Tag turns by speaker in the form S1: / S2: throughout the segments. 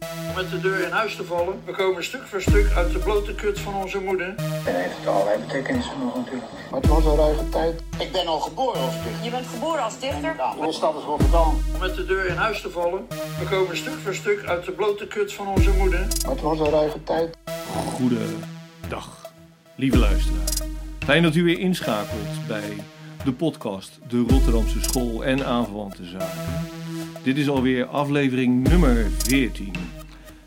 S1: om met de deur in huis te vallen. We komen stuk voor stuk uit de blote kut van onze moeder.
S2: En heeft het allerlei betekenissen nog natuurlijk.
S3: Maar het was een ruige tijd.
S2: Ik ben al geboren als dichter.
S4: Je bent geboren als dichter.
S2: Nou, mijn stad is Rotterdam.
S1: Om met de deur in huis te vallen. We komen stuk voor stuk uit de blote kut van onze moeder.
S3: Maar het was een ruige tijd.
S5: Goedendag, lieve luisteraar. Fijn dat u weer inschakelt bij de podcast De Rotterdamse School en aanverwante zaken. Dit is alweer aflevering nummer 14.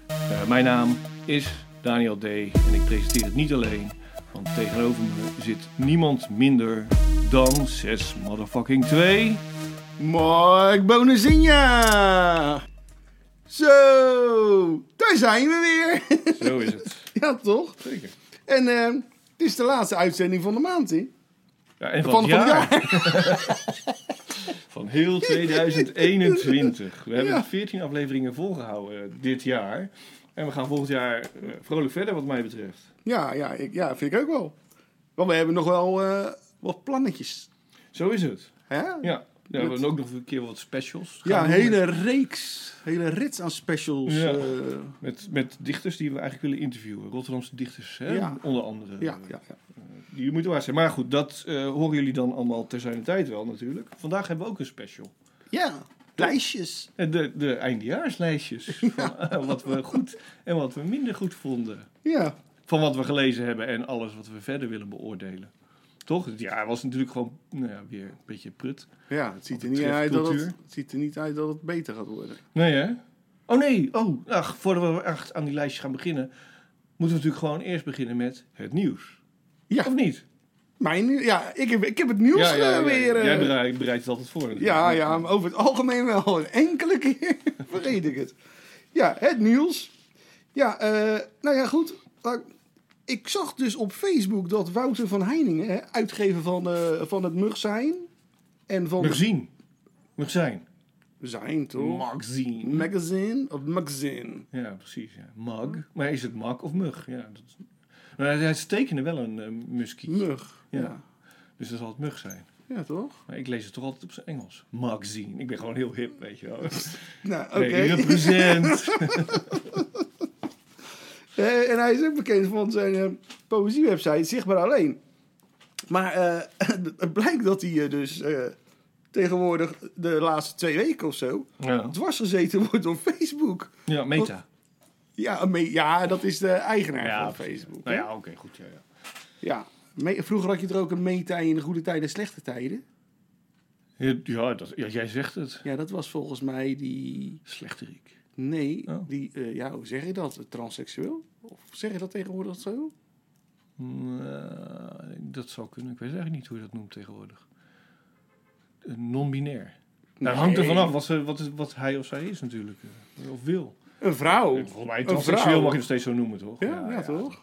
S5: Eh, mijn naam is Daniel D. en ik presenteer het niet alleen, want tegenover me zit niemand minder dan 6 motherfucking 2.
S6: Mark Bonazinha! Zo, daar zijn we weer.
S5: Zo is het.
S6: ja, toch?
S5: Zeker.
S6: En eh, dit is de laatste uitzending van de maand, hè?
S5: Ja, en van,
S6: Van,
S5: het
S6: van het
S5: jaar.
S6: jaar.
S5: Van heel 2021. We hebben
S6: Ja.
S5: 14 afleveringen volgehouden eh, dit jaar. En we gaan volgend jaar eh, vrolijk verder, wat mij betreft.
S6: Ja, ja, ik, ja, vind ik ook wel. Want we hebben nog wel eh, wat plannetjes.
S5: Zo is het.
S6: Hè?
S5: Ja. ja we hebben ook nog een keer wat specials.
S6: Ja,
S5: Gaan
S6: een
S5: we
S6: hele
S5: doen
S6: reeks, hele rits aan specials.
S5: Ja.
S6: eh,
S5: Met, met dichters die we eigenlijk willen interviewen. Rotterdamse dichters, hè?
S6: Ja.
S5: onder andere.
S6: ja, ja, ja.
S5: Die moeten waar zijn. Maar goed, dat eh, horen jullie dan allemaal ter zijn tijd wel natuurlijk. Vandaag hebben we ook een special.
S6: ja, lijstjes.
S5: Eh, De, de eindejaarslijstjes. Van, eh, wat we goed en wat we minder goed vonden.
S6: Ja,
S5: van wat we gelezen hebben en alles wat we verder willen beoordelen. Toch? Het jaar was natuurlijk gewoon nou ja, weer een beetje prut.
S6: ja het, ziet er
S5: Wat
S6: niet
S5: betreft
S6: uit dat het,
S5: cultuur.
S6: het ziet er niet uit dat het beter gaat worden.
S5: Nee, hè? Oh nee, oh, ach, voordat we echt aan die lijstjes gaan beginnen, moeten we natuurlijk gewoon eerst beginnen met het nieuws.
S6: Ja.
S5: Of niet?
S6: Mijn, nieuw- ja, ik heb, ik heb het nieuws eh, weer. eh,
S5: Jij bereidt, bereidt het altijd voor. natuurlijk.
S6: Ja, ja, maar over het algemeen wel. Een enkele keer vergeet ik het. Ja, het nieuws. Ja, eh, nou ja, goed. Nou, Ik zag dus op Facebook dat Wouter van Heiningen, hè, uitgever van, eh, van het Mugzijn... en van...
S5: Mag zien. Mag zijn.
S6: Zijn, toch?
S5: Mag zien.
S6: magazine of magazine.
S5: Ja, precies. Ja. Mug. Maar is het mag of mug? Ja, dat... Maar hij tekenen wel een eh, muskie.
S6: Mug.
S5: Ja.
S6: Ja.
S5: Dus dat zal het mug zijn.
S6: Ja, toch?
S5: Maar ik lees het toch altijd op zijn Engels. Magazine. Ik ben gewoon heel hip, weet je wel.
S6: Nou, oké.
S5: Nee, represent.
S6: Eh, en hij is ook bekend van zijn eh, poëziewebsite Zichtbaar Alleen. Maar eh, het blijkt dat hij eh, dus eh, tegenwoordig de laatste twee weken of zo
S5: Ja.
S6: dwarsgezeten wordt door Facebook.
S5: ja, meta.
S6: Ja, me- ja dat is de eigenaar van
S5: precies.
S6: Facebook.
S5: Nou
S6: hè?
S5: ja, oké, goed. Ja, ja.
S6: Ja. Me- vroeger had je er ook een meta in de goede tijden en slechte tijden.
S5: Ja, ja, dat, ja, jij zegt het.
S6: Ja, dat was volgens mij die...
S5: Slechterik.
S6: Nee,
S5: Oh.
S6: die... eh, ja, hoe zeg je dat? Transseksueel? Of zeg je dat tegenwoordig zo?
S5: Mm, eh, dat zou kunnen. Ik weet eigenlijk niet hoe je dat noemt tegenwoordig. Eh, Non-binair. Nou, dat hangt er
S6: Nee.
S5: vanaf wat, ze- wat, wat hij of zij is natuurlijk. eh, Of wil.
S6: Een vrouw.
S5: Volgens mij
S6: Oh, Een
S5: transseksueel
S6: vrouw.
S5: mag je nog steeds zo noemen, toch?
S6: Ja, ja, toch?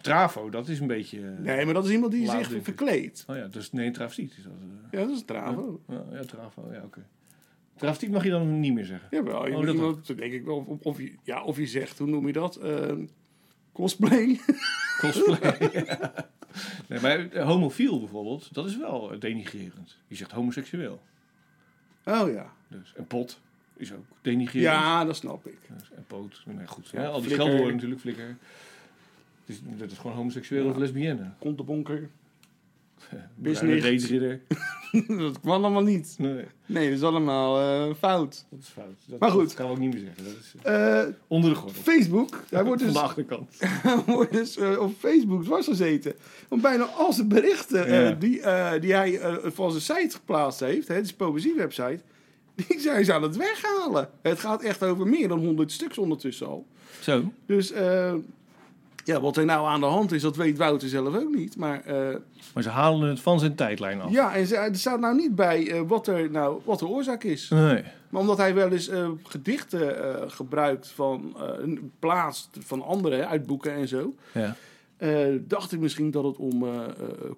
S5: Trafo, dat is een beetje... eh,
S6: Nee, maar dat is iemand die
S5: Laat
S6: zich
S5: denk ik.
S6: verkleedt.
S5: Oh ja, dus nee, travestiet is dat. eh.
S6: Ja, dat is travo.
S5: Ja, ja Travo, ja, oké. Travestiet mag je dan niet meer zeggen.
S6: Ja, wel. Je
S5: Oh,
S6: moet
S5: dat
S6: iemand, denk ik wel. Of, of, je, ja, of je zegt, hoe noem je dat? Ehm, cosplay.
S5: Cosplay. nee, maar eh, homofiel bijvoorbeeld, dat is wel eh, denigrerend. Je zegt homoseksueel.
S6: oh ja.
S5: Dus. En pot is ook denigrerend.
S6: Ja, dat snap ik.
S5: Dus, en poot, nee, goed.
S6: Ja,
S5: Ja, al die
S6: flikker.
S5: scheldwoorden natuurlijk, flikker. Dus, dat is gewoon homoseksueel of lesbienne.
S6: Komt de bonker.
S5: Bruine
S6: Business.
S5: reedsridder.
S6: dat kwam allemaal niet.
S5: Nee,
S6: Nee, dat is allemaal eh, fout.
S5: dat is fout. Dat,
S6: Maar goed.
S5: Dat kan we ook niet meer zeggen. Dat is eh,
S6: Eh,
S5: onder de gordel.
S6: Facebook. Daar wordt
S5: Van
S6: dus,
S5: de achterkant.
S6: daar wordt dus eh, op Facebook dwarsgezeten. Want bijna al zijn berichten eh,
S5: Ja.
S6: die, eh, die hij eh, van zijn site geplaatst heeft, hè, het is poëziewebsite, die zijn ze aan het weghalen. Het gaat echt over meer dan 100 stuks ondertussen al.
S5: Zo.
S6: Dus eh, ja, wat er nou aan de hand is, dat weet Wouter zelf ook niet. Maar eh,
S5: Maar ze halen het van zijn tijdlijn af.
S6: ja, en ze- er staat nou niet bij eh, wat, er nou, wat de oorzaak is.
S5: Nee.
S6: Maar omdat hij wel eens eh, gedichten eh, gebruikt van eh, een plaats van anderen hè, uit boeken en zo.
S5: Ja.
S6: eh, dacht ik misschien dat het om eh, eh,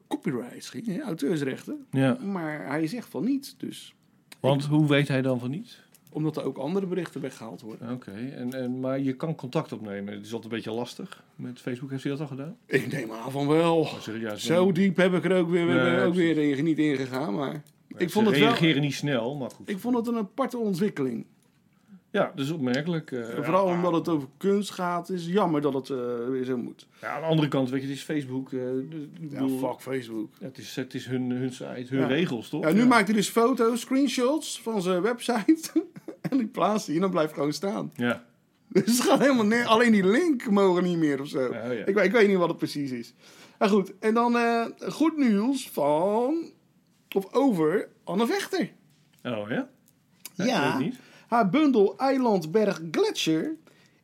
S6: copyrights ging, hè, auteursrechten.
S5: ja.
S6: Maar hij zegt van niet, dus
S5: Want hoe weet hij dan van niet?
S6: omdat er ook andere berichten weggehaald worden.
S5: Oké, en, en, maar je kan contact opnemen. Het is altijd een beetje lastig. Met Facebook heeft hij dat al gedaan.
S6: Ik neem aan van wel.
S5: Ze, ja, ze-
S6: Zo diep heb ik er ook weer, ben
S5: Nee,
S6: er ook weer in- niet ingegaan, maar...
S5: ze
S6: Ik vond, het wel,
S5: reageren niet snel, maar goed.
S6: ik vond het een aparte ontwikkeling.
S5: Ja, dus opmerkelijk. eh,
S6: En vooral
S5: ja,
S6: omdat het over kunst gaat, is jammer dat het eh, weer zo moet.
S5: Ja, aan de andere kant, weet je, het is Facebook. eh, ik
S6: Ja,
S5: bedoel,
S6: fuck Facebook.
S5: Het is, het is hun, hun site, hun
S6: Ja.
S5: regels, toch?
S6: Ja, nu maakt hij dus foto's, screenshots van zijn website. en die plaatst hij en dan blijft gewoon staan.
S5: Ja.
S6: Dus het gaat helemaal neer. Alleen die link mogen niet meer of zo.
S5: ja.
S6: ik, weet- ik weet niet wat het precies is. Maar goed, en dan eh, goed nieuws van... Of over Anne Vechter.
S5: Oh ja?
S6: Ja.
S5: Ik weet niet.
S6: Haar bundel Eiland Berg Gletscher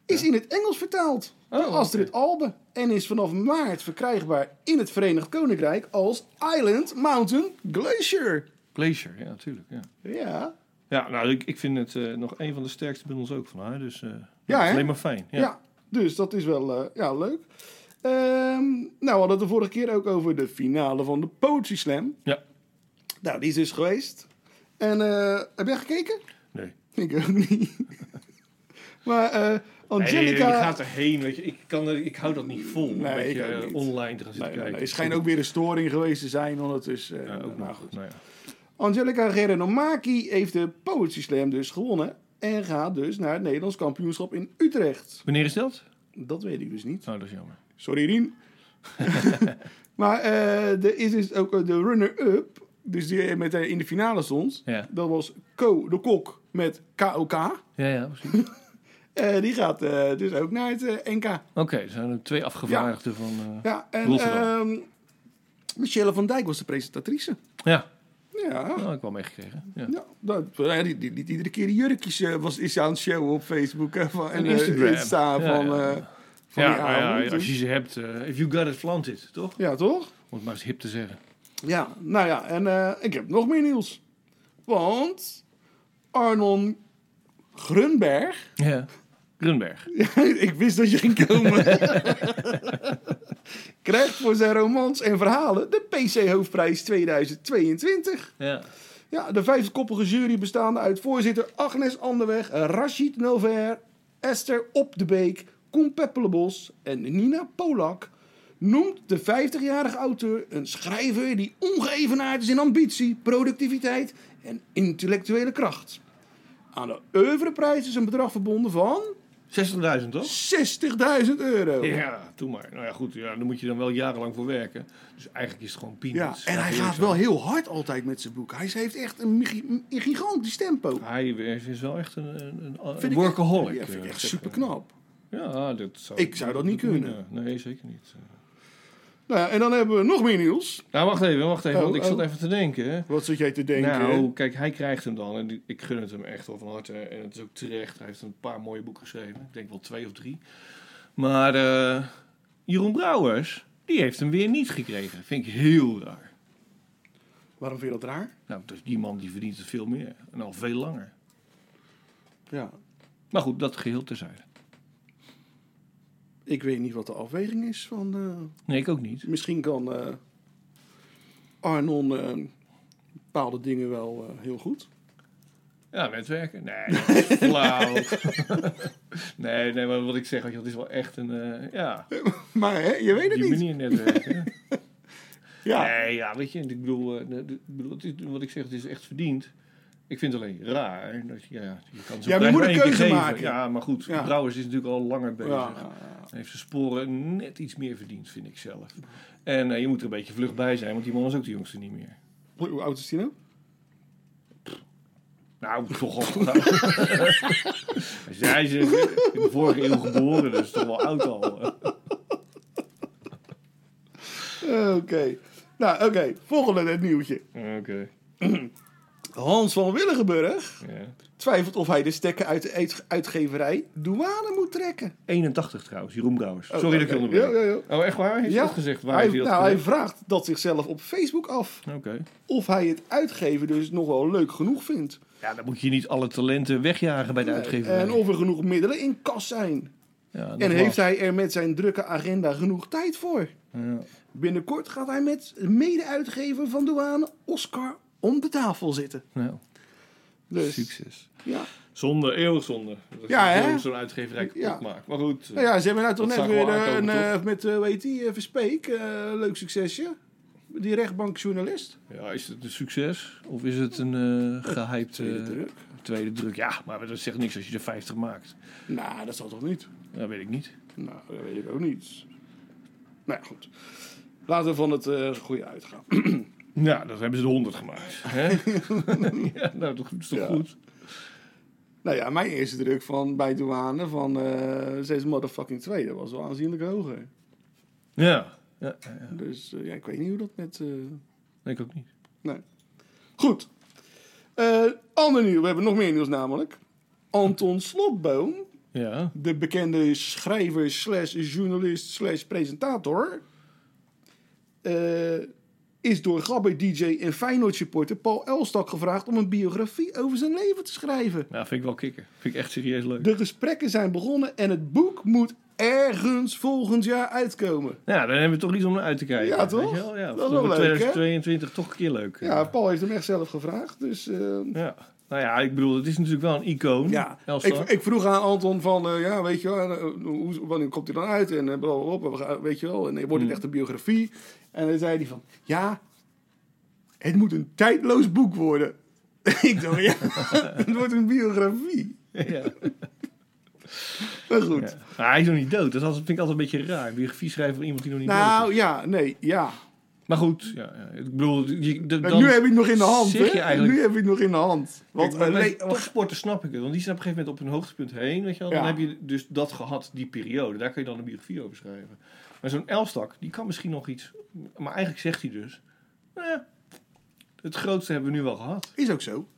S6: is in het Engels vertaald door
S5: Oh,
S6: Astrid Albe. En is vanaf maart verkrijgbaar in het Verenigd Koninkrijk als Island Mountain Glacier.
S5: Glacier, ja, natuurlijk. Ja,
S6: Ja,
S5: ja nou, ik, ik vind het eh, nog een van de sterkste bundels ook van haar. Dus eh,
S6: Ja,
S5: dat is
S6: hè?
S5: alleen maar fijn. Ja.
S6: ja. dus dat is wel eh, ja, leuk. Ehm, nou, we hadden het de vorige keer ook over de finale van de Poetry Slam.
S5: Ja.
S6: Nou, die is dus geweest. En eh, heb jij gekeken?
S5: Nee.
S6: Ik ook niet. maar eh,
S5: Nee, je
S6: Angelica...
S5: gaat erheen, weet je. Ik, kan er, ik hou dat niet vol, een
S6: Nee,
S5: beetje
S6: ik ook
S5: eh,
S6: niet.
S5: online te gaan zitten
S6: Nee, nee,
S5: kijken.
S6: nee, het schijnt ook weer een storing geweest te zijn ondertussen.
S5: Ja,
S6: Eh,
S5: ook
S6: nou
S5: nog
S6: goed.
S5: goed. Nou, ja.
S6: Angelica Gerenomaki heeft de Poetry Slam dus gewonnen. En gaat dus naar het Nederlands kampioenschap in Utrecht.
S5: Wanneer is dat?
S6: Dat weet ik dus niet.
S5: Nou, dat is jammer.
S6: Sorry, Rien. maar eh, er is dus ook eh, de runner-up, dus die met, eh, in de finale stond.
S5: Ja,
S6: Dat was Co de Kok met KOK.
S5: ja, ja precies.
S6: Eh, die gaat eh, dus ook naar het eh, NK.
S5: Oké, er zijn er twee afgevaardigden van... eh, ja.
S6: Ja, en
S5: Rotterdam.
S6: ehm, Michelle van Dijk was de presentatrice. Ja,
S5: nou, ik wel meegekregen. Ja.
S6: Ja, dat, nou ja, die, die, liet iedere keer die jurkjes eh, was, is aan het show op Facebook eh, van, en
S5: En
S6: eh,
S5: Instagram.
S6: Insta
S5: Ja,
S6: van,
S5: ja.
S6: eh, van
S5: ja,
S6: die
S5: nou ja,
S6: avond.
S5: als je ze hebt, eh, if you got it, flaunt it, toch?
S6: Ja, toch?
S5: Om het maar eens hip te zeggen.
S6: Ja, nou ja, en eh, ik heb nog meer nieuws. Want Arnon Grunberg...
S5: Ja. Grunberg.
S6: ik wist dat je ging komen. krijgt voor zijn romans en verhalen de PC Hoofdprijs 2022.
S5: Ja.
S6: Ja, de vijfkoppige jury bestaande uit voorzitter Agnes Anderweg, Rashid Nover, Esther Op de Beek, Koen Peppelebos en Nina Polak noemt de 50-jarige auteur een schrijver die ongeëvenaard is in ambitie, productiviteit en intellectuele kracht. Aan de oeuvreprijs is een bedrag verbonden van
S5: 60.000, toch?
S6: 60.000 euro.
S5: Ja, doe maar. Nou ja, goed. Ja, daar moet je dan wel jarenlang voor werken. Dus eigenlijk is het gewoon
S6: Ja,
S5: peanuts.
S6: en
S5: Laten
S6: hij
S5: we
S6: gaat wel
S5: eerlijk
S6: heel hard altijd met zijn boek. Hij heeft echt een gi- een gigantisch tempo.
S5: zijn. Hij is wel echt een, een, een- een
S6: Vind ik-
S5: Ah, workaholic.
S6: Ja, vind ik
S5: eh,
S6: echt
S5: zeg maar.
S6: super knap.
S5: Ja, dat zou
S6: Ik zou dat niet kunnen.
S5: ja. Nee, zeker niet.
S6: Nou, ja, en dan hebben we nog meer nieuws.
S5: Nou, wacht even, wacht even.
S6: Oh,
S5: want ik zat
S6: oh.
S5: even te denken. hè.
S6: Wat zit jij te denken?
S5: Nou, kijk, hij krijgt hem dan. En die- ik gun het hem echt wel van harte. En het is ook terecht. Hij heeft een paar mooie boeken geschreven. Ik denk wel twee of drie. Maar eh, Jeroen Brouwers, die heeft hem weer niet gekregen. Vind ik heel raar.
S6: Waarom vind je dat raar?
S5: Nou, dus die man die verdient het veel meer. En al veel langer.
S6: Ja,
S5: Maar goed, dat geheel terzijde.
S6: ik weet niet wat de afweging is van... eh,
S5: Nee, ik ook niet.
S6: misschien kan eh, Arnon eh, bepaalde dingen wel eh, heel goed.
S5: Ja, netwerken? Nee, dat is flauw. nee, nee, maar wat ik zeg, weet je, dat is wel echt een... eh, ja,
S6: Maar hè, je weet het
S5: die
S6: niet.
S5: manier eh, netwerken.
S6: Ja.
S5: Nee, ja, weet je, ik bedoel, eh, de- de- ik bedoel, het is- wat ik zeg, het is echt verdiend. Ik vind het alleen raar. Dat, je- ja, je kan zo'n
S6: Ja, maar
S5: prijs
S6: je moet
S5: maar
S6: een
S5: één keer
S6: keuze
S5: geven.
S6: maken.
S5: Ja, maar goed,
S6: Ja.
S5: Brouwers is natuurlijk al langer bezig.
S6: Ja,
S5: Hij heeft zijn sporen net iets meer verdiend, vind ik zelf. En eh, je moet er een beetje vlug bij zijn, want die man was ook de jongste niet meer.
S6: Hoe oud is die nou?
S5: Nou, toch al. Zij is in de vorige eeuw geboren, dus toch wel oud al.
S6: Eh, Oké. Nou, oké. Volgende nieuwtje.
S5: Oké.
S6: Hans van Willigenburg
S5: Ja.
S6: twijfelt of hij de stekker uit de eet- uitgeverij douane moet trekken.
S5: 81 trouwens, Jeroen Brouwers.
S6: Oh,
S5: Sorry dat ik je
S6: oké.
S5: onderbreek.
S6: Ja, ja,
S5: Oh, echt waar? Heeft hij dat gezegd? Waar
S6: hij,
S5: heeft hij dat
S6: nou, hij
S5: gezegd?
S6: vraagt dat zichzelf op Facebook af
S5: Oké.
S6: of hij het uitgeven dus nog wel leuk genoeg vindt.
S5: Ja, dan moet je niet alle talenten wegjagen bij de uitgeverij.
S6: En of er genoeg middelen in kas zijn.
S5: Ja,
S6: En
S5: nogmaals.
S6: heeft hij er met zijn drukke agenda genoeg tijd voor?
S5: Ja.
S6: Binnenkort gaat hij met mede-uitgever van douane Oscar om de tafel zitten.
S5: Nou,
S6: Dus,
S5: succes.
S6: Ja.
S5: Zonde, eeuwig zonde. Dat
S6: Ja,
S5: je
S6: hè?
S5: zo'n- Zo'n uitgeverij kapot
S6: Ja.
S5: maakt. Maar goed.
S6: Nou ja, ze hebben nou toch
S5: Dat
S6: net
S5: zag wel
S6: weer eh, een,
S5: aankomen,
S6: eh, met, eh, hoe heet die, eh, Verspeek, eh, leuk succesje. Die rechtbankjournalist.
S5: ja, is het een succes? Of is het een eh gehyped... eh,
S6: Tweede druk.
S5: tweede druk. Ja, maar dat zegt niks als je er 50 maakt.
S6: Nou, dat zal toch niet?
S5: Dat weet ik niet.
S6: Nou, dat weet ik ook niet. Nou ja, goed. Laten we van het eh, goede uitgaan.
S5: Nou, dat hebben ze de 100 gemaakt. Hè? ja, nou, dat is toch
S6: Ja.
S5: goed?
S6: nou ja, mijn eerste druk van, bij douane van eh 6 motherfucking 2, dat was wel aanzienlijk hoger.
S5: Ja. Ja, ja, ja.
S6: Dus eh, ja, ik weet niet hoe dat met... eh,
S5: Nee, ik ook niet.
S6: Nee. Goed. Eh ander nieuws. We hebben nog meer nieuws namelijk. Anton Slotboom,
S5: Ja.
S6: de bekende schrijver slash journalist slash presentator... eh, is door gabber DJ en Feyenoord supporter Paul Elstak gevraagd... om een biografie over zijn leven te schrijven.
S5: Ja, Nou, vind ik wel kicken. Vind ik echt serieus leuk.
S6: De gesprekken zijn begonnen en het boek moet ergens volgend jaar uitkomen.
S5: Ja, dan hebben we toch iets om naar uit te kijken.
S6: Ja,
S5: weet
S6: toch?
S5: je wel? Ja,
S6: Dat is
S5: voor
S6: wel leuk, hè?
S5: 2022 toch een keer leuk. eh.
S6: Ja, Paul heeft hem echt zelf gevraagd, dus... eh,
S5: Ja. Nou ja, ik bedoel, het is natuurlijk wel een icoon.
S6: Ja, ik,
S5: Elstar.
S6: ik vroeg aan Anton van, eh, ja, weet je wel, eh, hoe, wanneer komt hij dan uit? En eh, blablabla, we gaan- weet je wel, en
S5: Hmm.
S6: wordt het echt een biografie? En dan zei hij van, ja, het moet een tijdloos boek worden. ik dacht, ja, het wordt een biografie.
S5: ja.
S6: Maar goed.
S5: Ja. Maar hij is nog niet dood. dus Dat is altijd- vind ik altijd een beetje raar. Biografie schrijven van iemand die nog niet dood
S6: Nou
S5: is.
S6: ja, nee, ja.
S5: Maar goed, ja, ja. ik bedoel... Je, de-
S6: Maar
S5: dan
S6: nu heb je het nog in de hand,
S5: zeg je
S6: hè?
S5: eigenlijk-
S6: Nu heb je het nog in de hand.
S5: Want
S6: Want eh, nee,
S5: topsporten snap ik het. Want die zijn op een gegeven moment op hun hoogtepunt heen. Weet je wel. Dan
S6: Ja.
S5: heb je dus dat gehad, die periode. Daar kun je dan een biografie over schrijven. Maar zo'n Elstak, die kan misschien nog iets. Maar eigenlijk zegt hij dus... nou ja, het grootste hebben we nu wel gehad.
S6: is ook zo.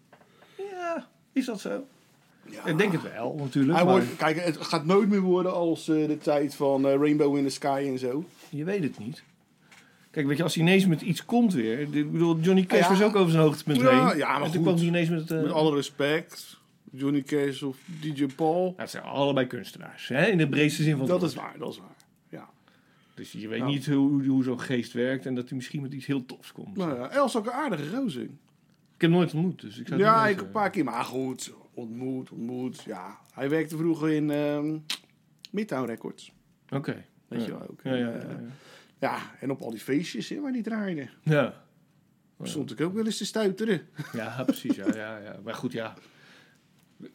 S5: Ja, is dat zo?
S6: Ja.
S5: Ik denk het wel, natuurlijk.
S6: Hij
S5: maar
S6: wordt, kijk, het gaat nooit meer worden als eh, de tijd van eh, Rainbow in the Sky en zo.
S5: Je weet het niet. Kijk, weet je, als hij ineens met iets komt weer... Ik bedoel, Johnny Cash
S6: Ja.
S5: was ook over zijn hoogtepunt
S6: Ja,
S5: heen.
S6: ja, maar
S5: en toen
S6: goed.
S5: kwam hij ineens met... eh,
S6: Met alle respect, Johnny Cash of DJ Paul.
S5: nou, het zijn allebei kunstenaars, hè? in de breedste zin van het
S6: Dat
S5: woord.
S6: is waar, dat is waar. Ja.
S5: Dus je weet
S6: Ja.
S5: niet hoe, hoe, hoe zo'n geest werkt en dat hij misschien met iets heel tofs komt.
S6: Nou ja, Els ook een aardige roze.
S5: Ik heb hem nooit ontmoet, dus ik zou het
S6: Ja,
S5: niet
S6: ik een
S5: weten.
S6: paar keer, maar goed. Ontmoet, ontmoet, ja. Hij werkte vroeger in ehm Midtown Records.
S5: Oké.
S6: Weet
S5: ja.
S6: je wel ook.
S5: Ja, ja,
S6: En,
S5: ja,
S6: eh,
S5: ja.
S6: ja, en op al die feestjes hè, waar die draaide.
S5: ja.
S6: Stond ik ook wel eens te stuiteren.
S5: Ja, precies. Ja, ja, ja. Maar goed, ja.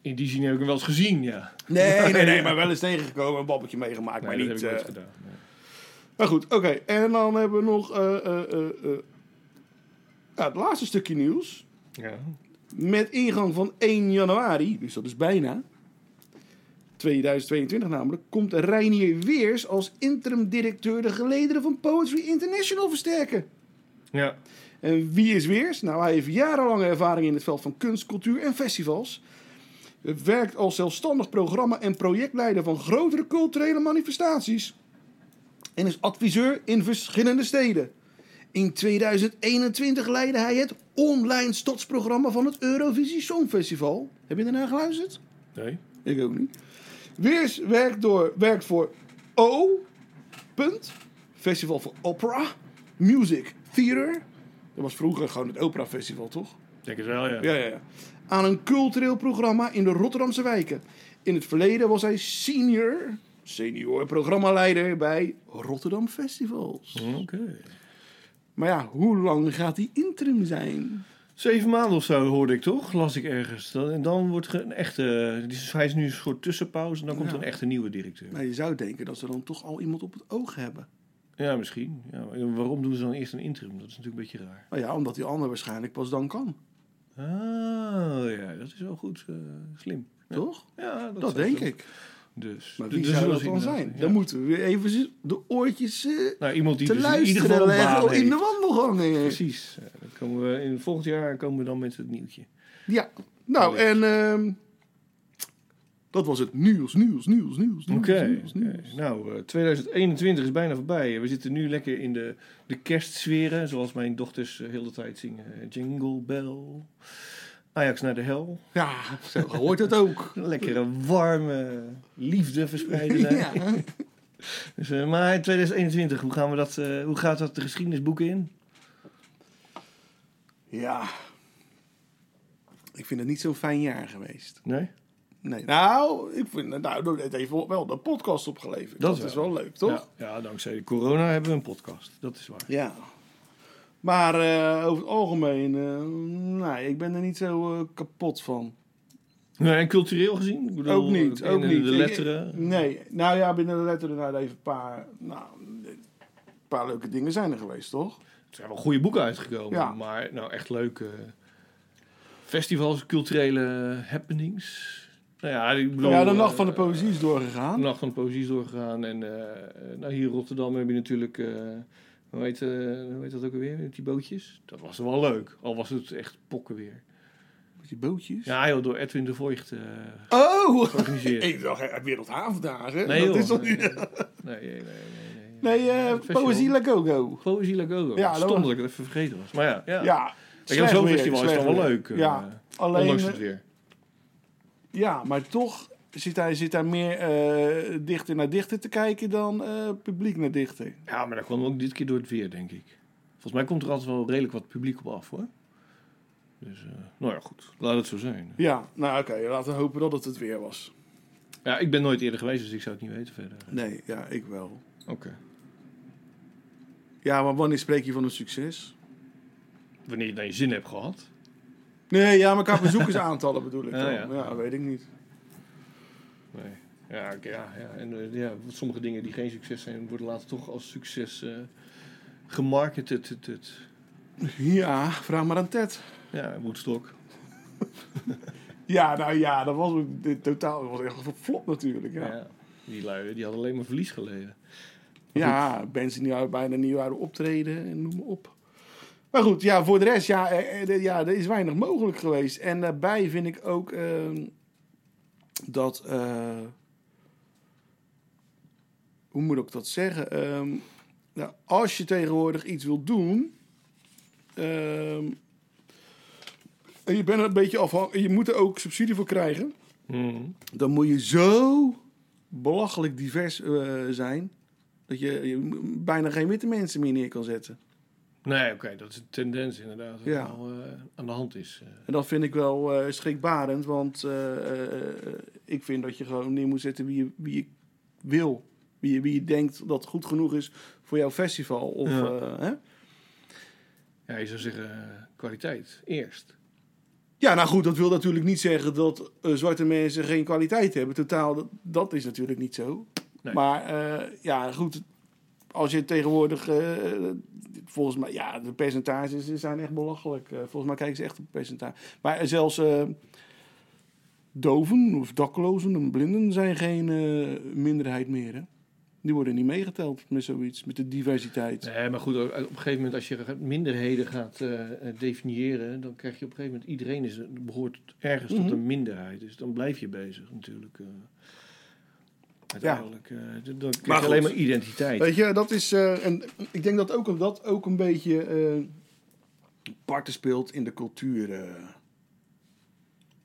S5: In die zin heb ik hem wel eens gezien, ja.
S6: Nee, nee, nee, maar wel eens tegengekomen. Een babbeltje meegemaakt,
S5: Nee,
S6: maar
S5: dat heb
S6: niet...
S5: ik nooit
S6: eh,
S5: gedaan. nee.
S6: Maar goed, oké. En dan hebben we nog eh, eh, eh, eh, ja, het laatste stukje nieuws.
S5: Ja.
S6: Met ingang van 1 januari, dus dat is bijna 2022 namelijk, komt Reinier Weers als interim directeur de gelederen van Poetry International versterken.
S5: ja.
S6: En wie is Weers? Nou, hij heeft jarenlange ervaring in het veld van kunst, cultuur en festivals. Werkt als zelfstandig programma- en projectleider van grotere culturele manifestaties. En is adviseur in verschillende steden. In 2021 leidde hij het online stadsprogramma van het Eurovisie Songfestival. Heb je daarna geluisterd?
S5: Nee.
S6: Ik ook niet. Weers werkt, door, werkt voor O. Punt, Festival voor Opera, Music, Theater. Dat was vroeger gewoon het Opera Festival, toch?
S5: Ik Denk het wel, ja.
S6: ja, ja. Aan een cultureel programma in de Rotterdamse wijken. In het verleden was hij senior, senior programmaleider bij Rotterdam Festivals.
S5: Oké.
S6: Maar ja, hoe lang gaat hij interim zijn?
S5: Zeven maanden of zo hoorde ik toch, las ik ergens. Dan- En dan wordt er een echte. Dus hij is nu een soort tussenpauze en dan komt er een echte nieuwe directeur.
S6: Nou, je zou denken dat ze dan toch al iemand op het oog hebben.
S5: Ja, misschien. Ja, maar waarom doen ze dan eerst een interim? Dat is natuurlijk een beetje raar.
S6: Nou ja, omdat die ander waarschijnlijk pas dan kan,
S5: Ah, ja, dat is wel goed. eh, slim. Ja.
S6: toch?
S5: Ja, dat,
S6: Dat
S5: zou
S6: denk
S5: zo-
S6: ik.
S5: Dus.
S6: Maar
S5: dus
S6: wie
S5: dus
S6: zou
S5: wel
S6: dat dan
S5: inderdaad-
S6: zijn?
S5: ja.
S6: Dan moeten we weer even z- de oortjes eh,
S5: Nou, iemand die
S6: te
S5: dus in ieder
S6: luisteren
S5: geval een
S6: leggen
S5: baan
S6: in de
S5: heeft.
S6: wandelgangen.
S5: Precies. Ja, dan komen we in, volgend jaar komen we dan met het nieuwtje.
S6: Ja, nou en ehm, dat was het nieuws, nieuws, nieuws, nieuws, nieuws,
S5: Oké.
S6: nieuws, nieuws.
S5: oké. Nou, eh, 2021 is bijna voorbij. We zitten nu lekker in de, de kerstsferen. Zoals mijn dochters eh, heel de tijd zingen. Eh, Jingle Bell. Ajax naar de hel.
S6: Ja, zo hoort het ook.
S5: Lekkere warme liefde verspreiden. daar.
S6: ja.
S5: Dus, eh, maar 2021, hoe, gaan we dat, eh, hoe gaat dat de geschiedenisboeken in?
S6: ja, ik vind het niet zo'n fijn jaar geweest.
S5: Nee?
S6: Nee, nou, ik vind, nou, het heeft wel wel de podcast opgeleverd. Dat, is wel leuk, toch?
S5: Ja, ja, dankzij de corona hebben we een podcast. Dat is waar.
S6: Ja. Maar eh, over het algemeen, eh, nee, ik ben er niet zo eh, kapot van.
S5: Nee, en cultureel gezien? Ik bedoel,
S6: ook niet. Ook
S5: in
S6: niet.
S5: De
S6: Ik-
S5: letteren.
S6: nee. Nou ja, binnen de letteren nou, even een paar, nou, een paar leuke dingen zijn er geweest, toch?
S5: Er zijn wel goede boeken uitgekomen,
S6: Ja.
S5: maar nou echt leuke festivals, culturele happenings. Nou ja, ik bedoel,
S6: ja, de Nacht
S5: eh,
S6: van de Poëzie is doorgegaan.
S5: de Nacht van de Poëzie is doorgegaan. En eh, nou, hier in Rotterdam heb je natuurlijk, eh, hoe, heet, eh, hoe heet dat ook alweer, met die bootjes. Dat was wel leuk, al was het echt pokken weer.
S6: Met die bootjes.
S5: Ja joh, door Edwin de Voigt eh,
S6: Oh!
S5: georganiseerd.
S6: Ik dacht, eh, wereldhavendagen.
S5: Nee,
S6: Nee, dat
S5: joh.
S6: is toch niet...
S5: Nee, nee, nee. nee, nee.
S6: Nee, eh,
S5: Het festival.
S6: Poëzie La Go Go.
S5: Poëzie La Gogo.
S6: Ja,
S5: Ja,
S6: dat
S5: Stom
S6: was-
S5: dat ik het even vergeten was. Maar ja, ja.
S6: Ja.
S5: ik heb zo'n festival
S6: slecht weer,
S5: is toch
S6: slecht
S5: wel
S6: weer.
S5: leuk. eh,
S6: Ja, alleen... eh,
S5: Ondanks het weer.
S6: Ja, maar toch zit hij, zit hij meer eh, dichter naar dichter te kijken dan eh, publiek naar dichter.
S5: Ja, maar dat kwam ook dit keer door het weer, denk ik. Volgens mij komt er altijd wel redelijk wat publiek op af, hoor. Dus, eh, nou ja, goed. Laat het zo zijn.
S6: Ja, nou oké, laten we hopen dat het het weer was.
S5: Ja, ik ben nooit eerder geweest, dus ik zou het niet weten verder.
S6: Nee, ja, ik wel.
S5: Oké.
S6: Ja, maar wanneer spreek je van een succes?
S5: Wanneer je dan je zin hebt gehad.
S6: Nee, ja, maar qua bezoekersaantallen bedoel ik
S5: Ja,
S6: dan.
S5: ja.
S6: Oh, Ja, weet ik niet.
S5: Nee. Ja, oké, ja, ja. En eh, ja, want sommige dingen die geen succes zijn, worden later toch als succes eh gemarketed. tut, tut.
S6: Ja, vraag maar aan Ted.
S5: Ja, Woodstock.
S6: Ja, nou ja, dat was ook dit totaal dat was echt een flop natuurlijk.
S5: Ja.
S6: Ja,
S5: Die lui, die hadden alleen maar verlies geleden.
S6: ja bands die nu bijna niet waren optreden en noem maar op. Maar goed, ja, voor de rest, ja, eh, eh, de- ja, er is weinig mogelijk geweest. En daarbij vind ik ook ehm, dat. eh, hoe moet ik dat zeggen? Ehm, nou, als je tegenwoordig iets wilt doen. ehm, en je bent er een beetje afhankelijk. Je moet er ook subsidie voor krijgen.
S5: Mhm.
S6: dan moet je zo belachelijk divers eh, zijn. Dat je, je m- bijna geen witte mensen meer neer kan zetten.
S5: Nee, oké, dat is een tendens inderdaad. Wat
S6: Ja.
S5: nou, eh, aan de hand is. eh.
S6: En dat vind ik wel eh, schrikbarend. Want eh, eh, eh, ik vind dat je gewoon neer moet zetten wie je, wie je wil. Wie je, wie je denkt dat goed genoeg is voor jouw festival. Of,
S5: Ja.
S6: eh, hè?
S5: Ja, je zou zeggen eh, kwaliteit eerst.
S6: ja, nou goed, dat wil natuurlijk niet zeggen dat eh, zwarte mensen geen kwaliteit hebben. Totaal, dat, dat is natuurlijk niet zo.
S5: Nee.
S6: Maar eh, ja, goed. Als je tegenwoordig. eh, volgens mij, ja, de percentages zijn echt belachelijk. Eh, volgens mij kijken ze echt op percentage. Maar eh, zelfs. eh, doven of daklozen en blinden zijn geen eh, minderheid meer. Hè? Die worden niet meegeteld met zoiets, met de diversiteit.
S5: Nee, maar goed, ook, eh, op een gegeven moment als je gaat- minderheden gaat eh, eh, definiëren, dan krijg je op een gegeven moment iedereen is, een- behoort ergens
S6: Mhm.
S5: tot een minderheid. Dus dan blijf je bezig natuurlijk. eh. uiteindelijk. eh, d- dan krijg
S6: Maar
S5: je alleen
S6: goed.
S5: maar identiteit.
S6: Weet je, dat is. eh, en ik denk dat ook, dat ook een beetje. eh parten speelt in de cultuur. eh.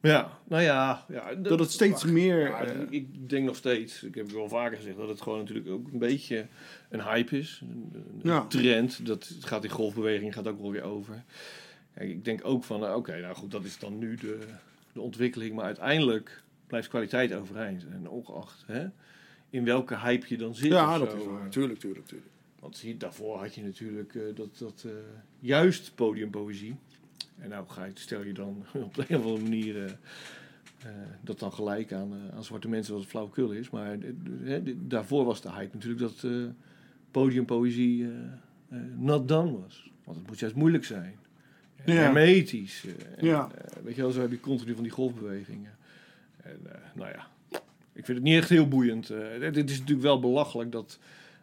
S5: Ja, nou ja. ja d-
S6: dat het steeds
S5: wacht.
S6: meer,
S5: Ja,
S6: eh,
S5: ik- ik denk nog steeds, ik heb het wel vaker gezegd, dat het gewoon natuurlijk ook een beetje een hype is. Een, een
S6: Ja.
S5: trend. Dat gaat die golfbeweging gaat ook wel weer over. Kijk, ik denk ook van, nou, oké, nou goed, dat is dan nu de, de ontwikkeling. Maar uiteindelijk blijft kwaliteit overeind. En ongeacht hè, in welke hype je dan zit.
S6: ja,
S5: of
S6: dat
S5: zo.
S6: is waar. eh. Tuurlijk, tuurlijk, tuurlijk.
S5: Want zie, daarvoor had je natuurlijk eh, dat, dat eh, juist podiumpoëzie. En nou ga je, stel je dan op de een of andere manier eh, eh, dat dan gelijk aan, eh, aan zwarte mensen wat flauwekul is. Maar eh, hè, dit- daarvoor was de hype natuurlijk dat eh, podiumpoëzie eh eh, not done was. Want het moet juist moeilijk zijn. En
S6: Ja.
S5: Hermetisch. eh, en,
S6: Ja.
S5: eh, weet je wel, zo heb je continu van die golfbewegingen. En, eh, nou ja, ik vind het niet echt heel boeiend. Eh, dit- dit is natuurlijk wel belachelijk dat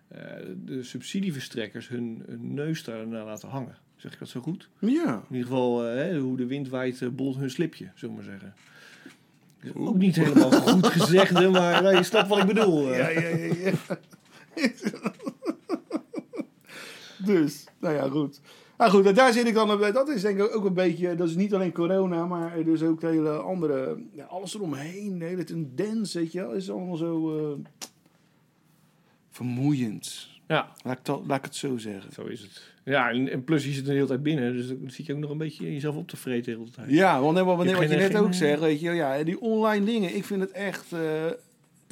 S5: eh, de subsidieverstrekkers hun, hun neus daarna laten hangen. Zeg ik dat zo goed?
S6: Ja.
S5: In ieder geval, eh, hè, hoe de wind waait, eh, bolt hun slipje, zullen we maar zeggen. Is Ook niet helemaal goed gezegd, hè, maar nou, je snapt wat ik bedoel. eh.
S6: ja, ja, ja. dus, nou ja, goed. Nou goed, daar zit ik dan op. Dat is denk ik ook een beetje. Dat is niet alleen corona, maar dus ook de hele andere. Ja, alles eromheen, de hele tendens, weet je wel. Is allemaal zo. eh, vermoeiend.
S5: Ja,
S6: Laat ik, dat, laat ik het zo zeggen.
S5: zo is het. Ja, en, en plus je zit de hele tijd binnen, dus dan zit je ook nog een beetje jezelf op te vreten de hele tijd.
S6: Ja, want wat,
S5: Je
S6: wat,
S5: hebt
S6: wat je
S5: geen-
S6: net
S5: geen-
S6: ook zegt, weet je, ja, die online dingen, ik vind het echt, eh,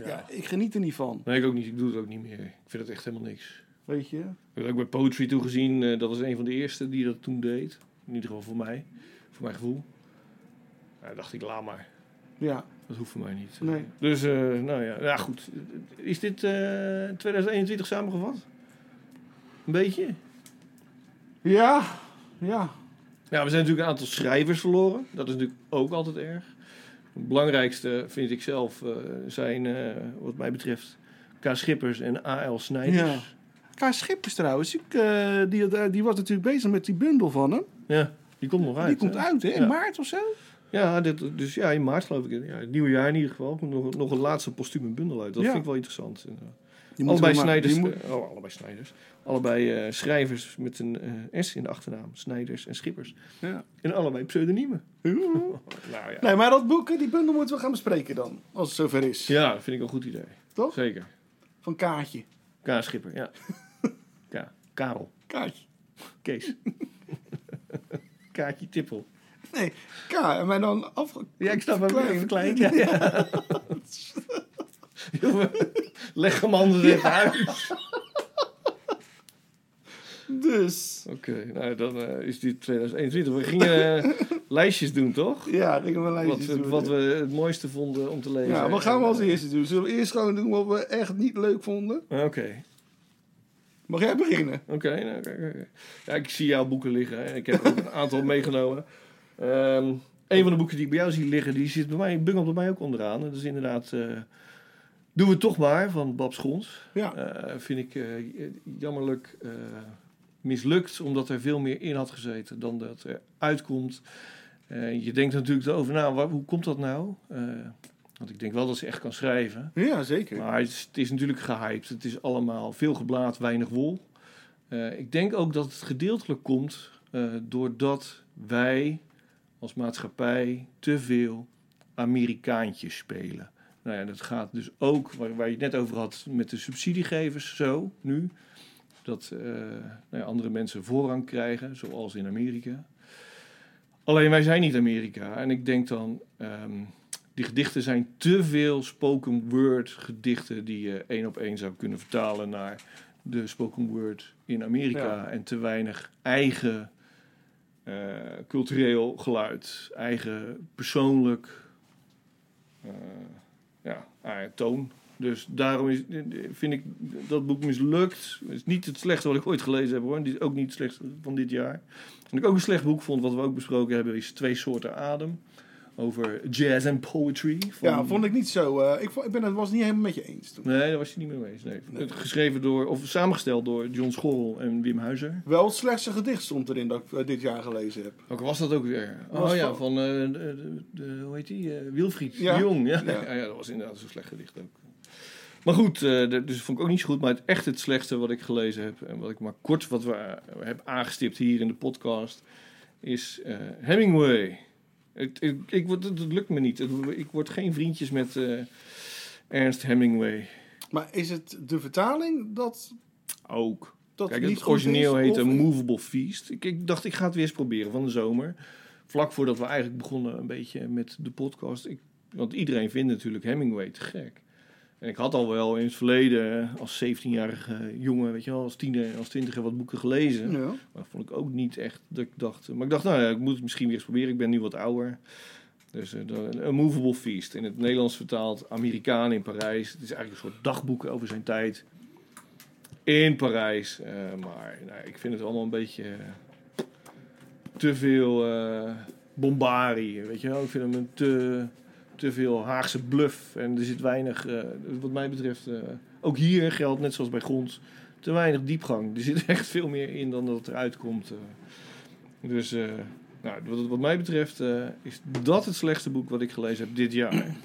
S6: ja. ik geniet er niet van,
S5: Nee, ik ook niet. Ik doe het ook niet meer. Ik vind het echt helemaal niks.
S6: weet je.
S5: Ik heb ook bij Poetry toe gezien. eh, dat was een van de eerste die dat toen deed. In ieder geval voor mij. Voor mijn gevoel. Ja, dacht ik, laat maar.
S6: Ja.
S5: Dat hoeft voor mij niet.
S6: Nee.
S5: Dus, eh, nou ja. ja, goed. Is dit eh, 2021 samengevat? Een beetje?
S6: Ja. Ja.
S5: Ja, we zijn natuurlijk een aantal schrijvers verloren. Dat is natuurlijk ook altijd erg. Het belangrijkste vind ik zelf eh, zijn, eh, wat mij betreft, K. Schippers en A.L. Snijders.
S6: K. Schippers trouwens, ik, eh, die, die was natuurlijk bezig met die bundel van hem.
S5: Ja, die komt nog uit.
S6: die komt
S5: hè?
S6: uit, hè? In
S5: Ja.
S6: maart of zo?
S5: Ja, dit, dus ja, in maart geloof ik. Ja, het nieuwe jaar in ieder geval. Komt nog, nog een laatste postume bundel uit. Dat
S6: Ja.
S5: vind ik wel interessant. inderdaad.
S6: Die moeten we
S5: Allebei
S6: maar-
S5: Snijders.
S6: die moet-
S5: eh, oh, allebei Snijders. Allebei eh, schrijvers met een eh, S in de achternaam. Snijders en Schippers.
S6: Ja.
S5: En allebei pseudoniemen. nou ja.
S6: Nee, maar dat boek, eh, die bundel moeten we gaan bespreken dan. Als het zover is.
S5: Ja, dat vind ik een goed idee.
S6: Toch?
S5: Zeker.
S6: Van Kaartje.
S5: K. Schipper, ja. K. Karel.
S6: Kaartje.
S5: Kees. Kaartje Tippel.
S6: Nee, K. Maar dan af.
S5: Ja, ik snap hem
S6: Klein.
S5: even verkleind. Ja, ja. Jongen, Leg hem anders even uit.
S6: Dus.
S5: Oké, nou dan eh, is dit 2021. We gingen eh, lijstjes doen, toch?
S6: Ja, ik heb een
S5: Wat,
S6: lijstje.
S5: we- wat we het mooiste vonden om te lezen.
S6: Ja, wat gaan we als
S5: En, eh,
S6: eerste doen? Zullen we eerst gewoon doen wat we echt niet leuk vonden?
S5: Oké,
S6: Mag jij beginnen?
S5: oké. nou, oké, oké. Ja, ik zie jouw boeken liggen en ik heb er ook een aantal meegenomen. Ehm een van de boeken die ik bij jou zie liggen, die zit bij mij, bungelt bij mij ook onderaan. Dat is inderdaad eh Doen we het toch maar van Bab Schons.
S6: Ja.
S5: Eh, vind ik eh, jammerlijk eh, mislukt, omdat er veel meer in had gezeten dan dat er uitkomt. Eh, je denkt natuurlijk over, nou, waar- hoe komt dat nou? Eh, want ik denk wel dat ze echt kan schrijven.
S6: Ja, zeker.
S5: Maar het is, het is natuurlijk gehyped. Het is allemaal veel geblaad, weinig wol. Eh, ik denk ook dat het gedeeltelijk komt eh, doordat wij als maatschappij te veel Amerikaantjes spelen. Nou ja, dat gaat dus ook, waar, waar je het net over had, met de subsidiegevers zo nu. Dat eh, nou ja, andere mensen voorrang krijgen, zoals in Amerika. Alleen wij zijn niet Amerika. En ik denk dan, ehm, die gedichten zijn te veel spoken word gedichten die je één op één zou kunnen vertalen naar de spoken word in Amerika.
S6: Ja.
S5: En te weinig eigen eh, cultureel geluid, eigen persoonlijk eh, ja, eh, toon. Dus daarom is, vind ik dat boek mislukt. Het is niet het slechtste wat ik ooit gelezen heb hoor. Dit is ook niet het slechtste van dit jaar. En ik ook een slecht boek vond, wat we ook besproken hebben, is Twee Soorten Adem. Over jazz en poetry. Van...
S6: Ja, vond ik niet zo. eh, ik, vond- ik ben het was niet helemaal met je eens toen.
S5: Nee, daar was je niet mee eens. Nee. Het Geschreven door, of samengesteld door John Schorl en Wim Huizer.
S6: Wel het slechtste gedicht stond erin dat ik eh, dit jaar gelezen heb.
S5: Ook was dat ook weer.
S6: Was
S5: oh ja,
S6: van-
S5: van, eh, de, de, de- hoe heet die? eh Wilfried
S6: Ja.
S5: de Jong. Ja.
S6: Ja.
S5: Ja. ja, dat was inderdaad zo'n slecht gedicht ook. Maar goed, eh, de- dus vond ik ook niet zo goed. Maar het echt het slechtste wat ik gelezen heb en wat ik maar kort wat we eh, heb aangestipt hier in de podcast is eh, Hemingway. Het, het- ik, word- het, het lukt me niet. Het- ik word geen vriendjes met eh, Ernst Hemingway.
S6: Maar is het de vertaling dat
S5: Ook.
S6: dat
S5: Kijk,
S6: niet
S5: het origineel eh,
S6: goed is,
S5: heette
S6: of-
S5: Movable Feast. Ik, ik dacht, ik ga het weer eens proberen van de zomer. Vlak voordat we eigenlijk begonnen een beetje met de podcast. Ik, want iedereen vindt natuurlijk Hemingway te gek. En ik had al wel in het verleden eh, als 17-jarige jongen, weet je wel, als tiener en als twintiger wat boeken gelezen.
S6: Ja.
S5: Maar vond ik ook niet echt dat ik dacht... Maar ik dacht, nou ja, ik moet het misschien weer eens proberen. Ik ben nu wat ouder. Dus eh, dan- een movable feast. In het Nederlands vertaald Amerikaan in Parijs. Het is eigenlijk een soort dagboek over zijn tijd. In Parijs. Eh, maar nou, ik vind het allemaal een beetje... eh, te veel eh bombarie. Weet je wel? Ik vind hem een te, te veel Haagse bluff. En er zit weinig... eh, wat mij betreft... eh, ook hier geldt, net zoals bij Gons te weinig diepgang. Er zit echt veel meer in dan dat eruit komt. eh. Dus eh, nou, wat, wat mij betreft eh, is dat het slechtste boek wat ik gelezen heb dit jaar.
S6: En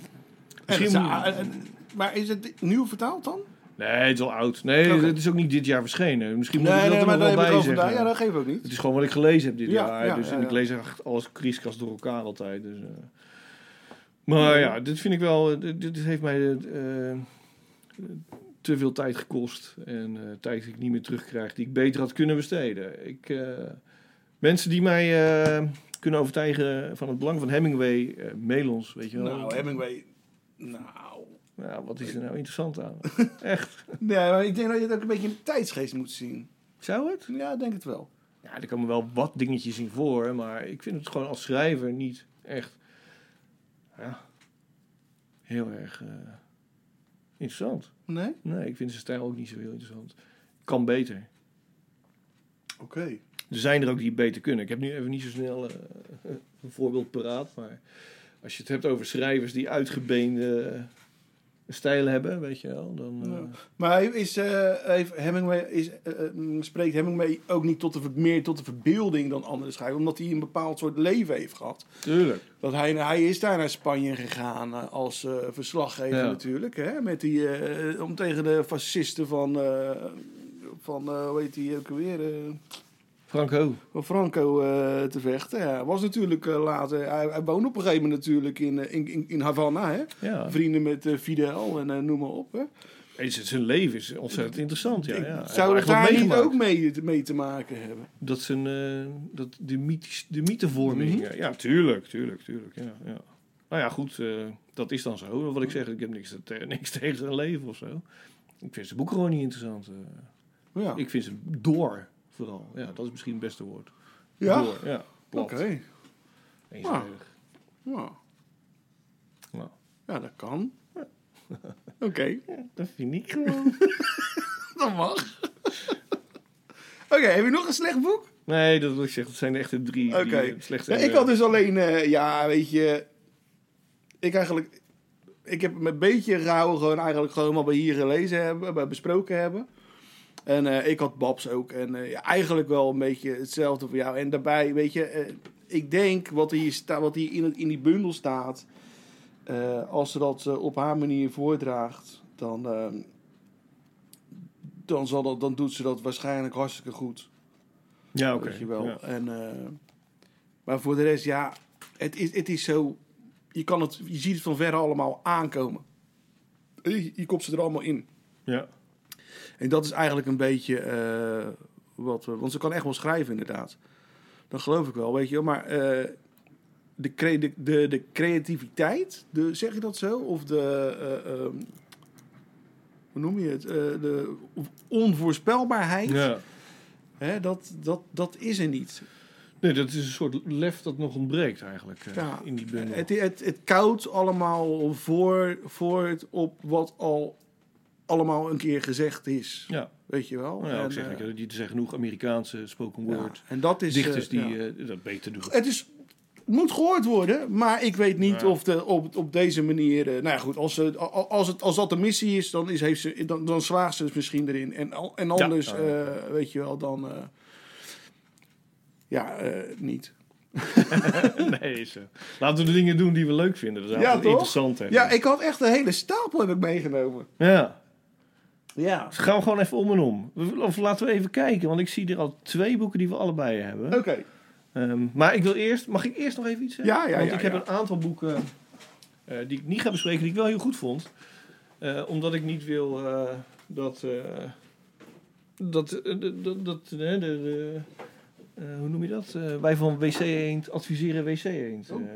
S5: Misschien
S6: het-
S5: moet-
S6: ah, en- maar is het nieuw vertaald dan?
S5: Nee, het is al oud. Nee,
S6: Oké.
S5: het is ook niet dit jaar verschenen. Misschien moet ik dat er nog
S6: daar
S5: wel bij
S6: heb ik
S5: zeggen.
S6: Ja, dat geeft ook niet.
S5: Het is gewoon wat ik gelezen heb dit
S6: Ja,
S5: jaar.
S6: ja,
S5: dus
S6: ja,
S5: en
S6: ja.
S5: ik lees echt alles kriskast door elkaar altijd. Dus, eh. Maar ja, dit vind ik wel... eh, Dit, dit heeft mij eh, eh, te veel tijd gekost. En eh, tijd die ik niet meer terugkrijg. Die ik beter had kunnen besteden. Ik, eh, mensen die mij eh, kunnen overtuigen van het belang van Hemingway... eh mail ons, weet je wel.
S6: Nou, Hemingway. Nou.
S5: Ja, wat is er nou interessant aan? echt.
S6: Nee, maar ik denk dat je het ook een beetje in de tijdsgeest moet zien.
S5: Zou het?
S6: Ja, ik denk het wel.
S5: Ja, er komen wel wat dingetjes in voor, maar ik vind het gewoon als schrijver niet echt. Ja, heel erg eh, interessant.
S6: Nee?
S5: Nee, ik vind zijn stijl ook niet zo heel interessant. Kan beter.
S6: Oké.
S5: Er zijn er ook die beter kunnen. Ik heb nu even niet zo snel eh, een voorbeeld paraat. Maar als je het hebt over schrijvers die uitgebeende eh, stijl hebben, weet je wel. Dan, eh,
S6: Ja. Maar hij is, eh, heeft Hemingway is, eh, eh, spreekt Hemingway ook niet tot de, ver- meer tot de verbeelding dan andere schrijvers, omdat hij een bepaald soort leven heeft gehad.
S5: Tuurlijk.
S6: Dat hij, hij is daar naar Spanje gegaan eh, als eh, verslaggever
S5: Ja.
S6: natuurlijk. Hè? Met die, eh, om tegen de fascisten van, eh, van eh, hoe heet die ook weer, eh,
S5: Franco.
S6: van Franco eh, te vechten. Ja, was natuurlijk eh, later, hij, hij woonde op een gegeven moment natuurlijk in, eh, in, in, in Havana. Hè?
S5: Ja.
S6: Vrienden met eh, Fidel en eh, noem maar op. Hè?
S5: Is het- Zijn leven is ontzettend interessant. Ja, ja. Hij heeft
S6: Zou
S5: echt
S6: het
S5: wat
S6: daar niet
S5: meegemaakt.
S6: ook mee, mee te maken hebben?
S5: Dat zijn eh, dat de, mythisch, de mythevorming.
S6: Mhm.
S5: eh, Ja, tuurlijk, tuurlijk, tuurlijk. Ja, ja. Nou ja, goed, eh, dat is dan zo. Wat ik
S6: Mhm.
S5: zeg, ik heb niks, te- niks tegen zijn leven of zo. Ik vind zijn boek gewoon niet interessant. eh.
S6: Ja.
S5: Ik vind ze door, vooral. Ja, dat is misschien het beste woord.
S6: ja?
S5: Door, ja. Plat.
S6: Oké.
S5: Eenzijdig.
S6: Nou. Ah.
S5: Nou.
S6: Ja, dat kan. Oké,
S5: Dat vind ik gewoon.
S6: dat mag. Oké, heb je nog een slecht boek?
S5: nee, dat wil ik zeggen. Dat zijn echt de drie,
S6: Oké.
S5: die eh, slecht
S6: Ja,
S5: zijn.
S6: ik had dus alleen, eh, ja, weet je. Ik eigenlijk. Ik heb hem een beetje rauw gewoon eigenlijk gewoon wat we hier gelezen hebben, wat we besproken hebben. En eh, ik had Babs ook. En eh, ja, eigenlijk wel een beetje hetzelfde voor jou. En daarbij, weet je, eh, ik denk wat hier, sta, wat hier in, het, in die bundel staat. eh, als ze dat eh, op haar manier voordraagt, dan, eh, dan, zal dat, dan doet ze dat waarschijnlijk hartstikke goed.
S5: Ja, oké.
S6: Weet je wel.
S5: Ja.
S6: En, eh, maar voor de rest, ja, het is, het is zo. Je, kan het, je ziet het van verre allemaal aankomen. Je, je kopt ze er allemaal in.
S5: Ja.
S6: En dat is eigenlijk een beetje eh, wat we. Want ze kan echt wel schrijven, inderdaad. Dat geloof ik wel, weet je wel. Maar eh, de, cre- de, de, de creativiteit, de, zeg je dat zo? Of de. eh, ehm, hoe noem je het? Eh, de onvoorspelbaarheid.
S5: ja.
S6: Hè, dat, dat, dat is er niet.
S5: Nee, dat is een soort lef dat nog ontbreekt eigenlijk eh,
S6: Ja,
S5: in die bundel.
S6: Het, het, het koudt allemaal voor, voor het op wat al allemaal een keer gezegd is.
S5: Ja,
S6: Weet je wel?
S5: nou ja, ik
S6: En,
S5: zeg,
S6: eh,
S5: ik, eh, die- er zijn genoeg Amerikaanse spoken
S6: ja,
S5: word
S6: En dat is...
S5: dichters
S6: eh,
S5: die
S6: ja.
S5: eh, dat beter doen.
S6: Het is, moet gehoord worden, maar ik weet niet
S5: Ja.
S6: of de, op, op deze manier... eh, nou ja, goed, als, ze, al- als, het, als dat de missie is, dan, is, heeft ze, dan, dan slaagt ze het misschien erin. En, al- en anders,
S5: Ja, ja.
S6: eh, weet je wel, dan... eh, ja, eh, niet.
S5: nee, is, eh, laten we de dingen doen die we leuk vinden. Dat is
S6: Ja,
S5: altijd
S6: toch?
S5: interessant. Hè.
S6: Ja, ik had echt een hele stapel heb ik meegenomen.
S5: ja.
S6: Ja.
S5: Dus gaan we gewoon even om en om. Of laten we even kijken, want ik zie er al twee boeken die we allebei hebben.
S6: Oké.
S5: Ehm, maar ik wil eerst, mag ik eerst nog even iets zeggen?
S6: Eh. Ja, ja,
S5: Want
S6: ja,
S5: ik heb
S6: ja.
S5: een aantal boeken eh, die ik niet ga bespreken, die ik wel heel goed vond. Eh, omdat ik niet wil eh, dat, eh, dat, eh, dat, dat, dat, eh, de, de- eh, hoe noem je dat? Eh, wij van WC Eend adviseren WC Eend.
S6: Oh.
S5: eh,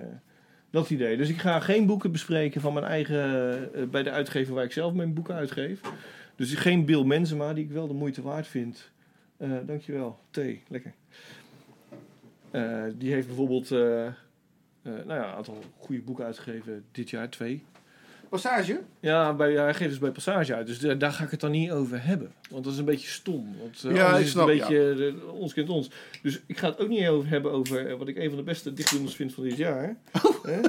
S5: dat idee. Dus ik ga geen boeken bespreken van mijn eigen, eh, bij de uitgever waar ik zelf mijn boeken uitgeef. Dus geen Bill Mensema, die ik wel de moeite waard vind. Eh dankjewel. Thee, lekker. Eh, die heeft bijvoorbeeld eh, eh, nou ja, een aantal goede boeken uitgegeven dit jaar, twee.
S6: Passage?
S5: Ja, bij, hij geeft dus bij Passage uit, dus da- daar ga ik het dan niet over hebben. Want dat is een beetje stom. Want, eh,
S6: Ja,
S5: anders
S6: ik
S5: is het
S6: snap,
S5: een beetje eh, de- ons kent ons. Dus ik ga het ook niet over hebben over eh, wat ik een van de beste dichtbundels vind van dit jaar.
S6: Oh.
S5: hè?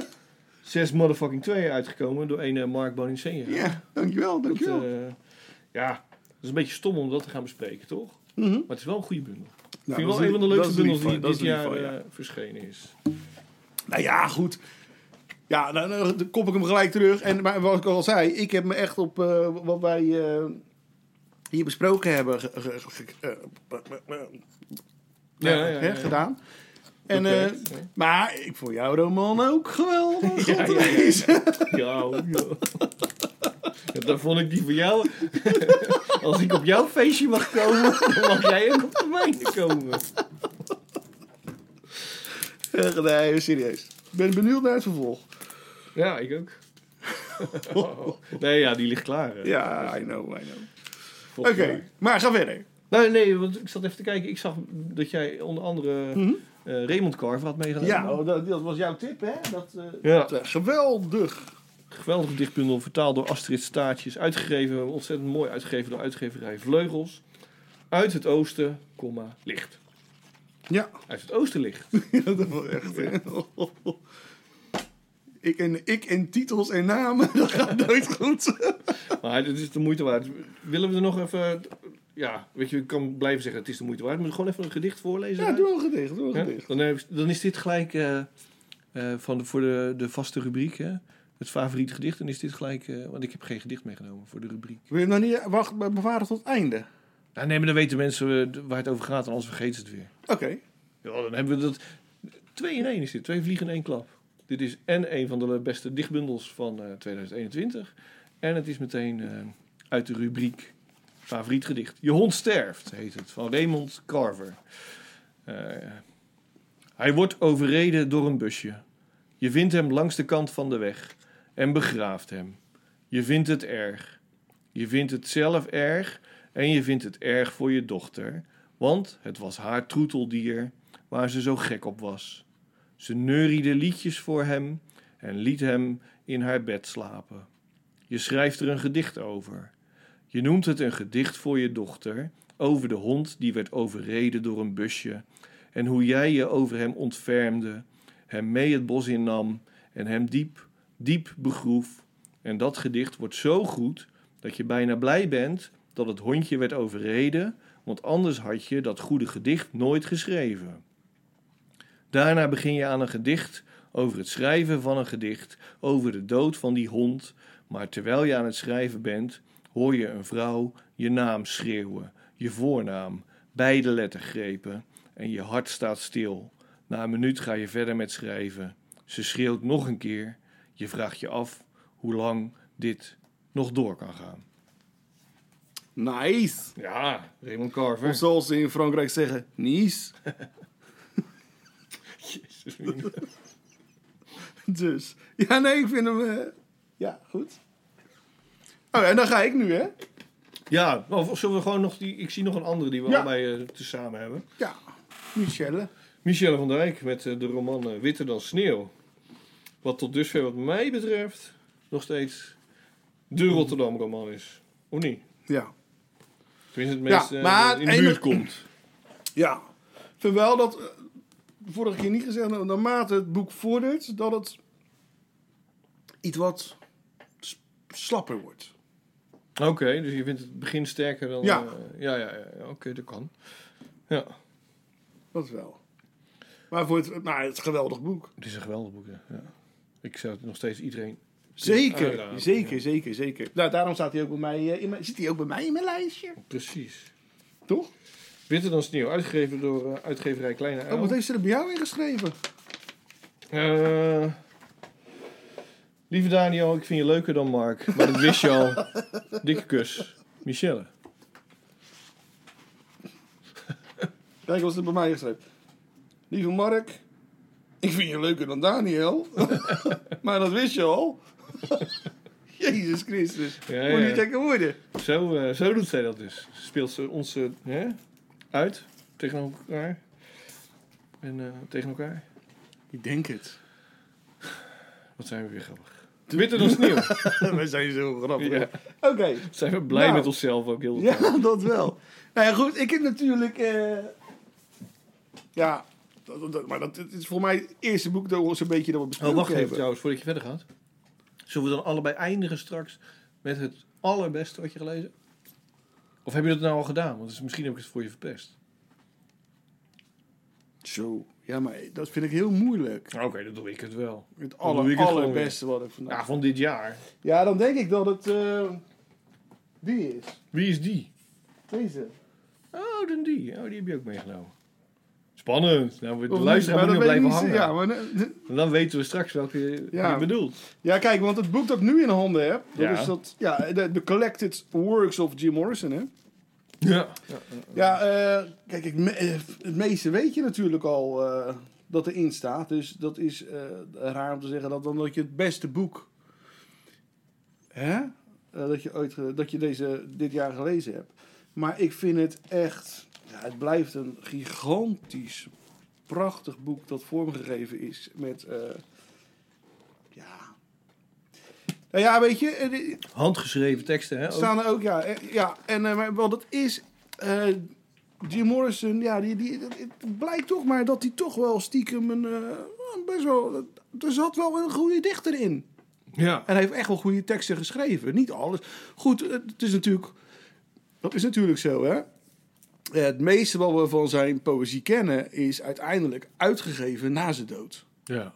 S5: Zes motherfucking twee uitgekomen door een eh, Mark Boninsenja.
S6: Ja, dankjewel,
S5: Dat,
S6: dankjewel.
S5: eh, ja, dat is een beetje stom om dat te gaan bespreken, toch?
S6: Mhm.
S5: Maar het is wel een goede bundel.
S6: Nou,
S5: Vind ik
S6: dat
S5: wel
S6: is
S5: een van de
S6: lief-
S5: leukste
S6: dat is lief
S5: bundels die
S6: van je, dat
S5: dit
S6: is lief
S5: jaar
S6: van
S5: eh,
S6: je, ja.
S5: verschenen is.
S6: Nou ja, goed. Ja, dan, eh, dan kop ik hem gelijk terug. En, maar wat ik al zei, ik heb me echt op eh, wat wij eh, hier besproken hebben ge- ge- ge- eh,
S5: Ja, ja, ja,
S6: hè,
S5: ja.
S6: gedaan. En, eh,
S5: Beperkt, hè?
S6: maar ik vond jouw roman ook geweldig om
S5: Ja,
S6: te
S5: ja, ja.
S6: lezen.
S5: Ja, joh. Ja, dan vond ik die voor jou. Als ik op jouw feestje mag komen, dan mag jij ook op de mijne komen.
S6: Eh, nee, serieus. Ik ben benieuwd naar het vervolg.
S5: Ja, ik ook. Nee, ja, die ligt klaar. hè.
S6: Ja, I know, I know. Oké,
S5: Volgens mij.
S6: maar ga verder.
S5: Nee, nee, want ik zat even te kijken. Ik zag dat jij onder andere
S6: Mhm.
S5: eh, Raymond Carver had meegenomen.
S6: Ja, oh, dat, dat was jouw tip, hè? Dat, eh,
S5: Ja.
S6: geweldig.
S5: Geweldig dichtbundel, vertaald door Astrid Staartjes. Uitgegeven, ontzettend mooi uitgegeven door uitgeverij Vleugels. Uit het oosten, komma, licht.
S6: Ja,
S5: Uit het oosten licht.
S6: dat is wel echt. hè. Ik en, ik en titels en namen, dat gaat nooit goed.
S5: Maar dit is de moeite waard. Willen we er nog even... Ja, weet je, ik kan blijven zeggen het is de moeite waard. Moet ik gewoon even een gedicht voorlezen?
S6: Ja, doe een gedicht, doe een
S5: Ja?
S6: gedicht.
S5: Dan, heb- dan is dit gelijk eh, eh, van de, voor de, de vaste rubriek, hè? het favoriete gedicht. Dan is dit gelijk, eh, want ik heb geen gedicht meegenomen voor de rubriek.
S6: Wil je hem nou niet wacht, maar bewaren tot het einde?
S5: Nou, nee, maar dan weten mensen eh, d- waar het over gaat, en anders vergeten ze het weer.
S6: Oké.
S5: Ja, dan hebben we dat. Twee in één is dit, twee vliegen in één klap. Dit is en een van de beste dichtbundels van eh, 2021. En het is meteen eh, uit de rubriek favoriet gedicht. Je hond sterft, heet het, van Raymond Carver. Eh, hij wordt overreden door een busje. Je vindt hem langs de kant van de weg en begraaft hem. Je vindt het erg. Je vindt het zelf erg en je vindt het erg voor je dochter, want het was haar troeteldier waar ze zo gek op was. Ze neuriede liedjes voor hem en liet hem in haar bed slapen. Je schrijft er een gedicht over. Je noemt het een gedicht voor je dochter over de hond die werd overreden door een busje en hoe jij je over hem ontfermde, hem mee het bos innam en hem diep, diep begroef. En dat gedicht wordt zo goed dat je bijna blij bent dat het hondje werd overreden, want anders had je dat goede gedicht nooit geschreven. Daarna begin je aan een gedicht over het schrijven van een gedicht over de dood van die hond. Maar terwijl je aan het schrijven bent, hoor je een vrouw je naam schreeuwen, je voornaam, beide lettergrepen en je hart staat stil. Na een minuut ga je verder met schrijven. Ze schreeuwt nog een keer. Je vraagt je af hoe lang dit nog door kan gaan.
S6: Nice.
S5: Ja, Raymond
S6: Of
S5: Carver.
S6: zoals ze in Frankrijk zeggen, nice. Dus. Ja, nee, ik vind hem... eh, ja, goed. Oh, en dan ga ik nu, hè?
S5: Ja, of zullen we gewoon nog die... Ik zie nog een andere die we
S6: Ja.
S5: allebei eh, tezamen hebben.
S6: Ja, Michelle.
S5: Michelle van der Wijk met eh, de roman eh, Witter dan Sneeuw. Wat tot dusver wat mij betreft nog steeds de Rotterdam roman is. Of niet?
S6: Ja.
S5: Tenminste het meest
S6: Ja,
S5: eh,
S6: maar
S5: in de
S6: en-
S5: buurt komt.
S6: Ja. Ik vind wel dat, eh, vorige keer niet gezegd, nou, naarmate het boek vordert, dat het iets wat s- slapper wordt.
S5: Oké, dus je vindt het begin sterker dan...
S6: Ja.
S5: eh, ja, ja, ja, ja, oké, dat kan. Ja,
S6: Dat wel. Maar voor het, maar het is een geweldig boek.
S5: het is een geweldig boek. hè, Ja. Ik zou het nog steeds iedereen...
S6: Zeker,
S5: aanraden,
S6: zeker, zeker, zeker. Nou, daarom staat hij ook bij mij, eh, in mijn, zit hij ook bij mij in mijn lijstje.
S5: Precies.
S6: Toch?
S5: Witter dan Sneeuw, uitgegeven door eh, uitgeverij Kleine Uil.
S6: Oh, wat heeft ze er bij jou in geschreven?
S5: Eh, lieve Daniel, ik vind je leuker dan Mark. Maar dat wist je al. Dikke kus. Michelle.
S6: Kijk wat ze er bij mij in geschreven. Lieve Mark, ik vind je leuker dan Daniel. maar dat wist je al. Jezus Christus.
S5: Ja,
S6: Moet
S5: ja.
S6: niet lekker worden.
S5: Zo, eh, zo doet zij dat dus. Speelt ze ons eh, hè, uit tegen elkaar. En eh, tegen elkaar.
S6: Ik denk het.
S5: Wat zijn we weer grappig. Witter dan sneeuw.
S6: We zijn zo grappig.
S5: Ja.
S6: Oké.
S5: Zijn we blij
S6: Nou.
S5: met onszelf ook heel de tijd.
S6: Ja, dat wel. Nou ja, goed, ik heb natuurlijk... eh, Ja, dat, dat- dat- maar dat, het is voor mij het eerste boek dat we ons een beetje dat we
S5: Oh,
S6: besproken
S5: wacht even
S6: hebben.
S5: trouwens, voordat je verder gaat. Zullen we dan allebei eindigen straks met het allerbeste wat je gelezen hebt? Of heb je dat nou al gedaan? Want misschien heb ik het voor je verpest.
S6: Zo. Ja, maar dat vind ik heel moeilijk.
S5: Oké, dan doe ik het wel.
S6: Het
S5: doe
S6: aller,
S5: ik het gewoon
S6: allerbeste wat ik vandaag...
S5: Ja, van dit jaar.
S6: Ja, dan denk ik dat het eh, die is.
S5: Wie is die?
S6: Deze.
S5: Oh, dan die. Oh, die heb je ook meegenomen. Spannend. Nou, we de
S6: Of
S5: luisteraar
S6: niet,
S5: moet
S6: maar
S5: nog
S6: dat
S5: blijven
S6: weet ik
S5: hangen.
S6: niet. Ja, maar, ne- ne-
S5: En dan weten we straks welke je-
S6: Ja.
S5: je bedoelt.
S6: ja, kijk, want het boek dat ik nu in handen heb, dat
S5: Ja.
S6: is dat, ja, de, de Collected Works of Jim Morrison, hè?
S5: Ja.
S6: Ja, eh, kijk, ik me- eh, het meeste weet je natuurlijk al eh, dat erin staat. Dus dat is eh, raar om te zeggen dat dan dat je het beste boek, hè, eh, dat je ooit, ge- dat je deze dit jaar gelezen hebt. Maar ik vind het echt, ja, het blijft een gigantisch prachtig boek dat vormgegeven is met, eh, ja. Nou ja, weet je, eh, die-
S5: Handgeschreven teksten, hè? ook.
S6: staan er ook, ja. eh, ja. En, eh, maar wat het is, eh, Jim Morrison, ja, die, die, dat- het blijkt toch maar dat hij toch wel stiekem een, eh, best wel, eh, er zat wel een goede dichter in.
S5: Ja.
S6: En hij heeft echt wel goede teksten geschreven. Niet alles. Goed, het is natuurlijk. Dat is natuurlijk zo, hè? Het meeste wat we van zijn poëzie kennen is uiteindelijk uitgegeven na zijn dood.
S5: ja.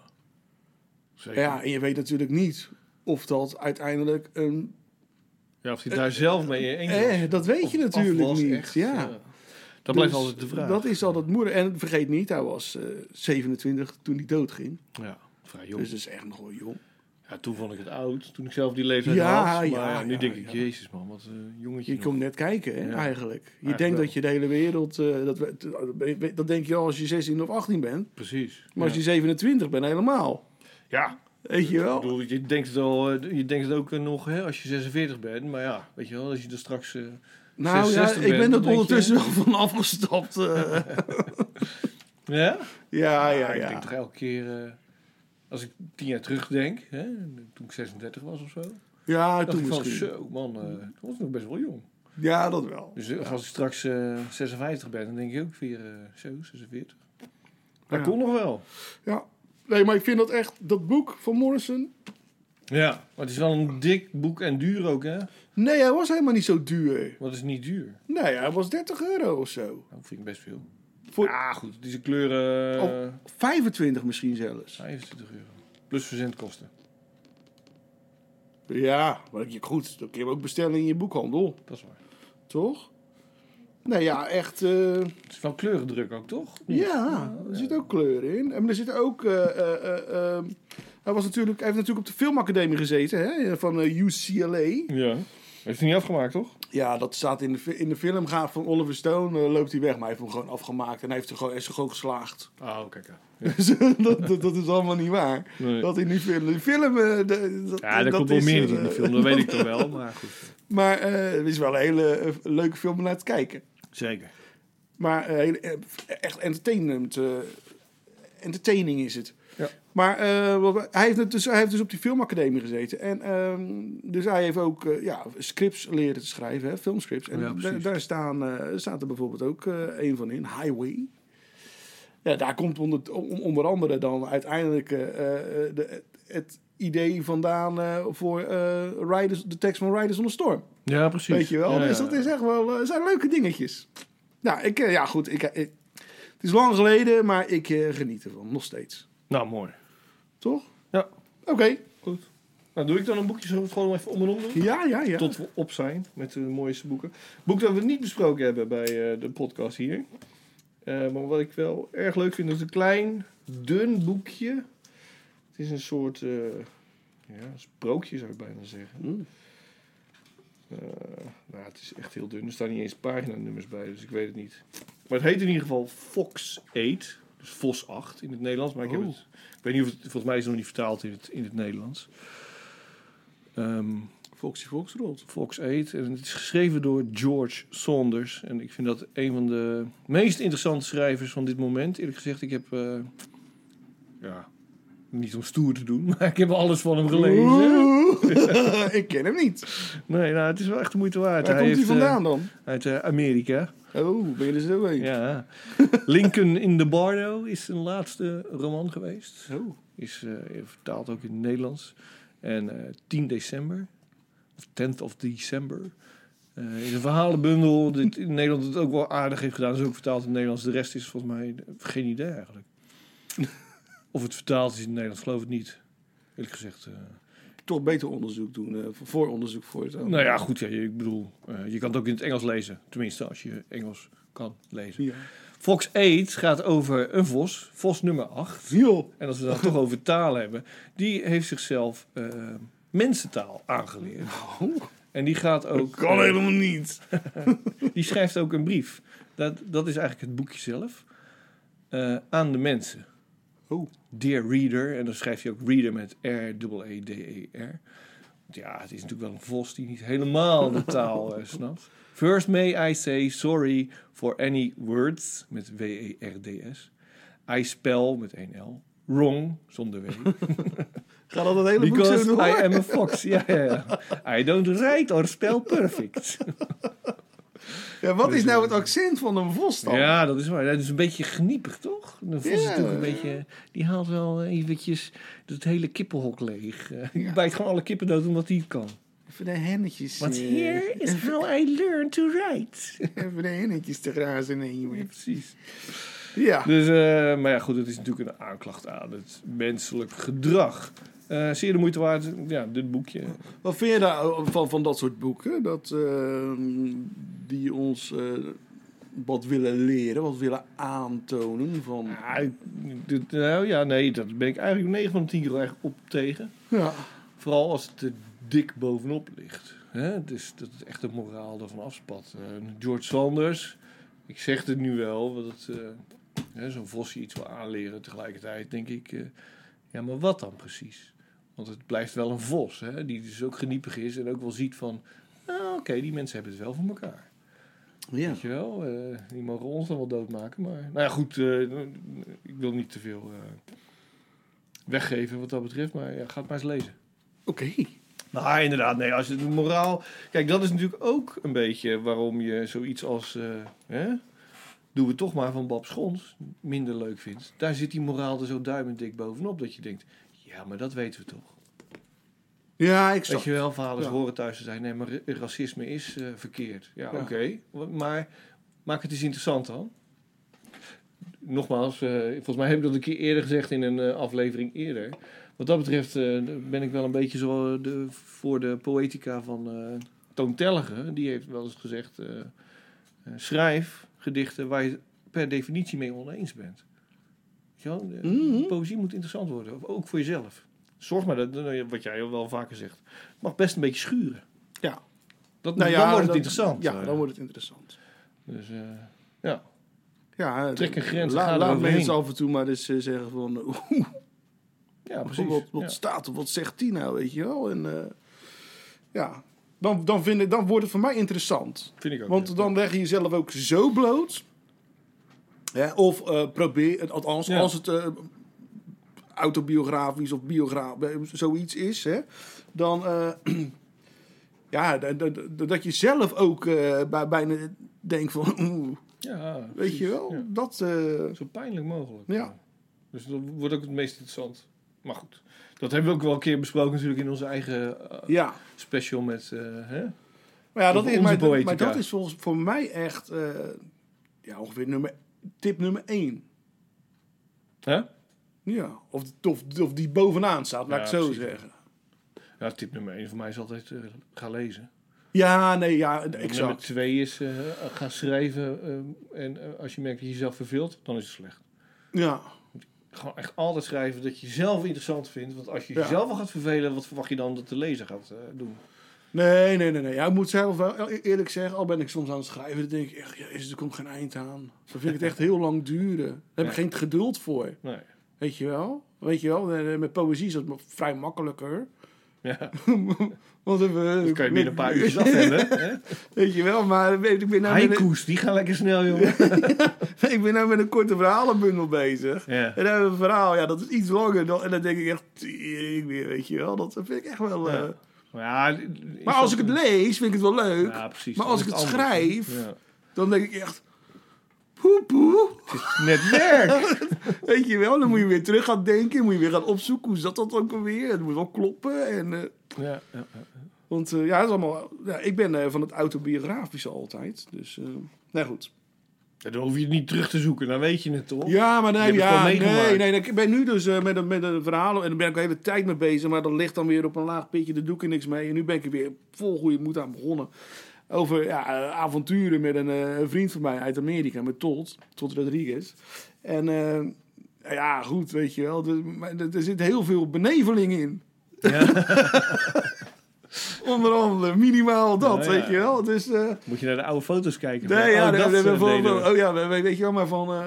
S5: Zeker. Ja.
S6: Ja, en je weet natuurlijk niet of dat uiteindelijk een.
S5: of hij daar zelf mee eens was.
S6: Eh, dat weet je
S5: Of
S6: natuurlijk
S5: was
S6: niet.
S5: echt,
S6: ja.
S5: Dat blijft
S6: Dus
S5: altijd de vraag.
S6: Dat is altijd moeilijk. En vergeet niet, hij was eh, 27 toen hij doodging.
S5: Ja, vrij jong.
S6: Dus dat is echt nog wel jong.
S5: ja, toen vond ik het oud, toen ik zelf die leeftijd
S6: Ja,
S5: had. Maar
S6: ja,
S5: ja, nu
S6: ja,
S5: denk ik,
S6: ja.
S5: jezus man, wat een jongetje
S6: Je
S5: nog.
S6: komt net kijken, hè,
S5: Ja.
S6: eigenlijk. Je
S5: Eigenlijk
S6: denkt
S5: wel.
S6: dat je de hele wereld... eh, dat, we- dat denk je al als je 16 of 18 bent.
S5: Precies.
S6: Maar als
S5: ja.
S6: je 27 bent, helemaal.
S5: ja.
S6: Weet je
S5: Ik
S6: wel?
S5: bedoel, je denkt het, al, eh, je denkt het ook eh, nog hè, als je 46 bent. Maar ja, weet je wel, als je er straks... eh,
S6: Nou ja,
S5: 66
S6: ik ben
S5: bent,
S6: er
S5: dan denk
S6: ondertussen
S5: je-
S6: wel van afgestapt. eh.
S5: Ja?
S6: ja, ja,
S5: Maar Ik denk
S6: ja.
S5: toch elke keer... eh, als ik tien jaar terugdenk, hè, toen ik 36 was of zo.
S6: Ja,
S5: dacht
S6: toen
S5: ik van,
S6: misschien.
S5: zo man, eh, toen was ik nog best wel jong.
S6: Ja, dat wel.
S5: Dus eh, als ik straks eh, 56 ben, dan denk ik ook weer eh, zo, 46. Dat
S6: Ja.
S5: kon nog wel.
S6: Ja. Nee, maar ik vind dat echt, dat boek van Morrison...
S5: Ja, maar het is wel een dik boek en duur ook, hè?
S6: Nee, hij was helemaal niet zo duur.
S5: Wat is niet duur?
S6: Nee, hij was 30 euro of zo.
S5: Nou, vind ik best veel.
S6: Voor
S5: Ah, goed, het is een kleuren...
S6: Oh. 25 misschien zelfs.
S5: 25 euro. Plus verzendkosten.
S6: Ja, maar je- goed, dat kun je ook bestellen in je boekhandel,
S5: Dat is waar.
S6: toch? Nou ja, echt... eh,
S5: Het is wel kleurendruk ook, toch?
S6: Ja, er zit ook kleur in. En er zit ook. eh, eh, eh, eh, hij, was natuurlijk, hij heeft natuurlijk op de filmacademie gezeten hè, van eh, UCLA.
S5: Ja. Heeft hij niet afgemaakt, toch?
S6: Ja, dat staat in de, fi- in de filmgraaf van Oliver Stone. eh, loopt hij weg, maar hij heeft hem gewoon afgemaakt en hij heeft er gewoon, is er gewoon geslaagd.
S5: Ah, kijk. Ja,
S6: Dus, dat, dat, dat is allemaal niet waar.
S5: Nee.
S6: Dat in die film. Die film. eh, de- dat,
S5: ja daar
S6: dat
S5: komt wel
S6: is,
S5: meer
S6: eh,
S5: in de film, dat weet ik toch wel. Maar goed.
S6: Maar eh, het is wel een hele eh, leuke film om naar te kijken.
S5: Zeker.
S6: Maar eh, hele- eh, echt entertainment. eh, entertaining is het.
S5: Ja.
S6: Maar eh, wat we- hij, heeft het dus, hij heeft dus op die filmacademie gezeten. En, ehm, dus hij heeft ook eh, ja, scripts leren te schrijven, hè, filmscripts. En
S5: Ja, precies.
S6: daar, daar staan, eh, staat er bijvoorbeeld ook eh een van in, Highway. Ja, daar komt onder, on- onder andere dan uiteindelijk eh, eh, de, het idee vandaan eh, voor eh, Riders, de tekst van Riders on the Storm.
S5: Ja, precies.
S6: Weet je wel,
S5: Ja,
S6: dus
S5: ja.
S6: dat is echt wel, eh, zijn leuke dingetjes. Nou, ik, eh, ja goed, ik, eh, ik- het is lang geleden, maar ik eh, geniet ervan, nog steeds.
S5: Nou, mooi.
S6: Toch?
S5: Ja.
S6: Oké.
S5: Goed. Nou, doe ik dan een boekje zo gewoon even om en om doen?
S6: Ja, ja, ja.
S5: Tot we op zijn met de mooiste boeken. Boek dat we niet besproken hebben bij eh, de podcast hier. Eh, maar wat ik wel erg leuk vind, is een klein, dun boekje. Het is een soort eh, ja, sprookje, zou ik bijna zeggen.
S6: Mm.
S5: Eh, nou, het is echt heel dun. Er staan niet eens paginanummers bij, dus ik weet het niet. Maar het heet in ieder geval Fox 8. Dus Vos 8 in het Nederlands. Maar ik, heb
S6: Oh.
S5: het, ik weet niet of het, volgens mij is het nog niet vertaald in het, in het Nederlands. Ehm
S6: Foxy Foxtrot.
S5: Fox 8. En het is geschreven door George Saunders. En ik vind dat een van de meest interessante schrijvers van dit moment. Eerlijk gezegd, ik heb... eh, ja, niet om stoer te doen, maar ik heb alles van hem gelezen.
S6: Oeh, ik ken hem niet.
S5: Nee, nou, het is wel echt de moeite waard.
S6: Waar komt hij
S5: heeft, eh,
S6: vandaan dan?
S5: uit eh, Amerika.
S6: Oh, ben je er zo heen?
S5: Ja. Lincoln in the Bardo is zijn laatste roman geweest.
S6: Oh.
S5: Is eh, vertaald ook in het Nederlands. En eh, 10 december, of 10th of December, eh, is een verhalenbundel. Dit in Nederland het ook wel aardig heeft gedaan. Is ook vertaald in het Nederlands. De rest is volgens mij eh, geen idee eigenlijk. of het vertaald is in het Nederlands, geloof het niet. Eerlijk gezegd. eh,
S6: Toch beter onderzoek doen, eh, voor onderzoek voor het
S5: nou ja, goed. Ja, je- ik bedoel, eh, je kan het ook in het Engels lezen. Tenminste, als je Engels kan lezen.
S6: Ja.
S5: Fox 8 gaat over een vos, vos nummer 8.
S6: Joh.
S5: En als we het dan toch over taal hebben, die heeft zichzelf eh, mensentaal aangeleerd. En die gaat ook. eh,
S6: helemaal niet.
S5: die schrijft ook een brief. Dat, dat is eigenlijk het boekje zelf. eh, aan de mensen.
S6: Oh.
S5: Dear Reader. En dan schrijft hij ook Reader met E R-E-E-D-E-R. Want ja, het is natuurlijk wel een vos die niet helemaal de taal eh, snapt. First may I say sorry for any words. Met E W-E-R-D-S. I spell met één L. Wrong, zonder W.
S6: Ga dan dat hele boek
S5: Because
S6: zo door.
S5: I am a fox. Ja, ja, ja. I don't write or spell perfect.
S6: Ja, wat is nou het accent van een vos dan?
S5: Ja, dat is waar. Dat is een beetje geniepig, toch? Dan vond ze
S6: Ja.
S5: natuurlijk een beetje... Die haalt wel eh, eventjes het hele kippenhok leeg. Eh, Die bijt gewoon alle kippen dood omdat hij het kan.
S6: Even de hennetjes.
S5: Want
S6: eh,
S5: here is how I learned to write.
S6: Even de hennetjes te grazen. Nee,
S5: Ja,
S6: jongen.
S5: precies.
S6: Ja.
S5: Dus, eh, maar ja, goed, het is natuurlijk een aanklacht aan het menselijk gedrag. Eh, zeer de moeite waard, ja, dit boekje.
S6: Wat vind je daar van, van dat soort boeken? Dat, eh, die ons eh, wat willen leren, wat willen aantonen van...
S5: Ah, ik- dit- nou ja, nee, dat ben ik eigenlijk 9 van de 10 keer wel echt op tegen.
S6: Ja.
S5: Vooral als het te dik bovenop ligt. Hè? Dus dat het echt de moraal ervan afspat. Eh, George Sanders, ik zeg het nu wel, want het, eh, hè, zo'n vosje iets wil aanleren tegelijkertijd, denk ik. eh, ja, maar wat dan precies? Want het blijft wel een vos, hè? die dus ook geniepig is en ook wel ziet van... Nou, oké, die mensen hebben het wel voor elkaar.
S6: ja.
S5: Weet je wel, eh, die mogen ons dan wel doodmaken. Maar nou ja, goed, eh, ik wil niet te veel eh, weggeven wat dat betreft. Maar ja, ga het maar eens lezen.
S6: Oké.
S5: Maar Nou, inderdaad, nee, als je de moraal... Kijk, dat is natuurlijk ook een beetje waarom je zoiets als... eh hè, Doe we toch maar van Bab Schons minder leuk vindt. Daar zit die moraal er zo duimendik bovenop dat je denkt... Ja, maar dat weten we toch.
S6: Ja, ik
S5: Weet
S6: zag.
S5: je wel, vaders
S6: Ja.
S5: horen thuis te zijn. Nee, maar ra- racisme is eh, verkeerd. Ja,
S6: Ja.
S5: oké. Wa- Maar maak het eens interessant dan. Nogmaals, eh, volgens mij heb ik dat een keer eerder gezegd in een eh, aflevering eerder. Wat dat betreft eh, ben ik wel een beetje zo eh, de, voor de poëtica van eh Toon Tellige. Die heeft wel eens gezegd, eh, eh, schrijf gedichten waar je het per definitie mee oneens bent. Weet je wel? De-
S6: Mhm.
S5: Poëzie moet interessant worden, ook- ook voor jezelf. Zorg maar, dat, eh, wat jij wel vaker zegt, het mag best een beetje schuren.
S6: Ja.
S5: Dat,
S6: Nou ja,
S5: dan wordt het
S6: dat-
S5: interessant.
S6: Ja,
S5: Eh,
S6: dan wordt het interessant.
S5: Dus, eh, ja.
S6: Ja, eh,
S5: Trek een grens,
S6: la-
S5: ga
S6: laat
S5: eroverheen.
S6: mensen af en toe maar eens eh, zeggen van... oeh,
S5: ja, precies.
S6: Wat, wat
S5: Ja.
S6: staat er, wat zegt die nou, weet je wel? En eh, ja, dan, dan, vind ik, dan wordt het voor mij interessant.
S5: Vind ik ook. ja.
S6: Want dan leg je jezelf ook zo bloot. Hè, of eh, probeer, het, althans,
S5: Ja.
S6: als het eh, autobiografisch of biograaf, zoiets is, hè, dan. eh, ja, d- d- d- dat je zelf ook eh, bij, bijna denkt van. oeh,
S5: Ja,
S6: weet
S5: precies.
S6: je wel,
S5: Ja.
S6: dat. eh,
S5: Zo pijnlijk mogelijk.
S6: Ja.
S5: Dus dat wordt ook het meest interessant. Maar goed, dat hebben we ook wel een keer besproken natuurlijk in onze eigen eh,
S6: ja.
S5: special met... eh, hè?
S6: Maar ja,
S5: Of
S6: dat is,
S5: onze
S6: maar, maar
S5: poëtica.
S6: dat is volgens voor mij echt. eh, ja, ongeveer nummer, tip nummer één.
S5: Hè?
S6: Ja, of, of, of die bovenaan staat, laat
S5: Ja,
S6: ik het zo
S5: precies.
S6: zeggen.
S5: Ja, tip nummer 1 voor mij is altijd eh, ga lezen.
S6: Ja, nee, ja,
S5: Tip Nummer
S6: exact.
S5: 2 is eh, ga schrijven eh, en eh, als je merkt dat je jezelf verveelt, dan is het slecht.
S6: Ja,
S5: Gewoon echt altijd schrijven dat je jezelf interessant vindt. Want als je
S6: Ja.
S5: jezelf al gaat vervelen, wat verwacht je dan dat de lezer gaat eh, doen?
S6: nee, nee, nee. nee. Ja, ik moet zelf wel e- eerlijk zeggen, al ben ik soms aan het schrijven, dan denk ik echt, jezus, er komt geen eind aan. Dan vind ik het echt heel lang duren. Daar heb ik
S5: Ja.
S6: geen geduld voor,
S5: Nee.
S6: weet je wel. Weet je wel, eh, met poëzie is dat ma- vrij makkelijker.
S5: Ja,
S6: Want dan eh,
S5: dat kan je binnen een paar uurtjes af hebben. hè?
S6: Weet je wel, maar weet, ik ben nou met een,
S5: Haiku's, die gaan lekker snel, jongen.
S6: ik ben nou met een korte verhalenbundel bezig.
S5: Ja.
S6: En dan hebben we een verhaal, ja, dat is iets langer. Dan, en dan denk ik echt, tering weer, weet je wel. Dat vind ik echt wel... eh,
S5: Ja. Maar, ja, is
S6: Maar
S5: dat
S6: als ik het
S5: een-
S6: lees, vind ik het wel leuk.
S5: Ja, precies.
S6: maar
S5: Dan
S6: als
S5: is
S6: ik het
S5: anders, hè?
S6: schrijf,
S5: Ja.
S6: dan denk ik echt... Poe, poe.
S5: Net werk.
S6: Weet je wel, dan moet je weer terug gaan denken. Moet je weer gaan opzoeken. Hoe zat dat ook alweer? Het moet wel kloppen. En, eh,
S5: ja, ja, ja.
S6: want eh, ja, dat is allemaal, ja, ik ben eh, van het autobiografische altijd. Dus, eh nou goed.
S5: Ja, Dan hoef je het niet terug te zoeken, dan weet je het toch?
S6: Ja, maar
S5: Je
S6: nee,
S5: hebt het
S6: ja,
S5: wel meegemaakt.
S6: nee, nee. Ik ben nu dus eh, met, een, met een verhaal. En daar ben ik al de hele tijd mee bezig. Maar dat ligt dan weer op een laag pitje. Daar doe ik er niks mee. En nu ben ik er weer vol goede moed aan begonnen. Over ja, eh, avonturen met een eh, een vriend van mij uit Amerika. Met Tot. Tot Rodriguez. En eh, ja, goed, weet je wel. Er, maar er- er zit heel veel beneveling in.
S5: Ja.
S6: Onder andere minimaal dat,
S5: Ja, ja.
S6: weet je wel. Dus... eh,
S5: Moet je naar de oude foto's kijken?
S6: Nee, ja,
S5: oh,
S6: we
S5: dat,
S6: hebben
S5: eh,
S6: bijvoorbeeld-
S5: deden we.
S6: oh ja, we- we- weet je wel, maar van... eh,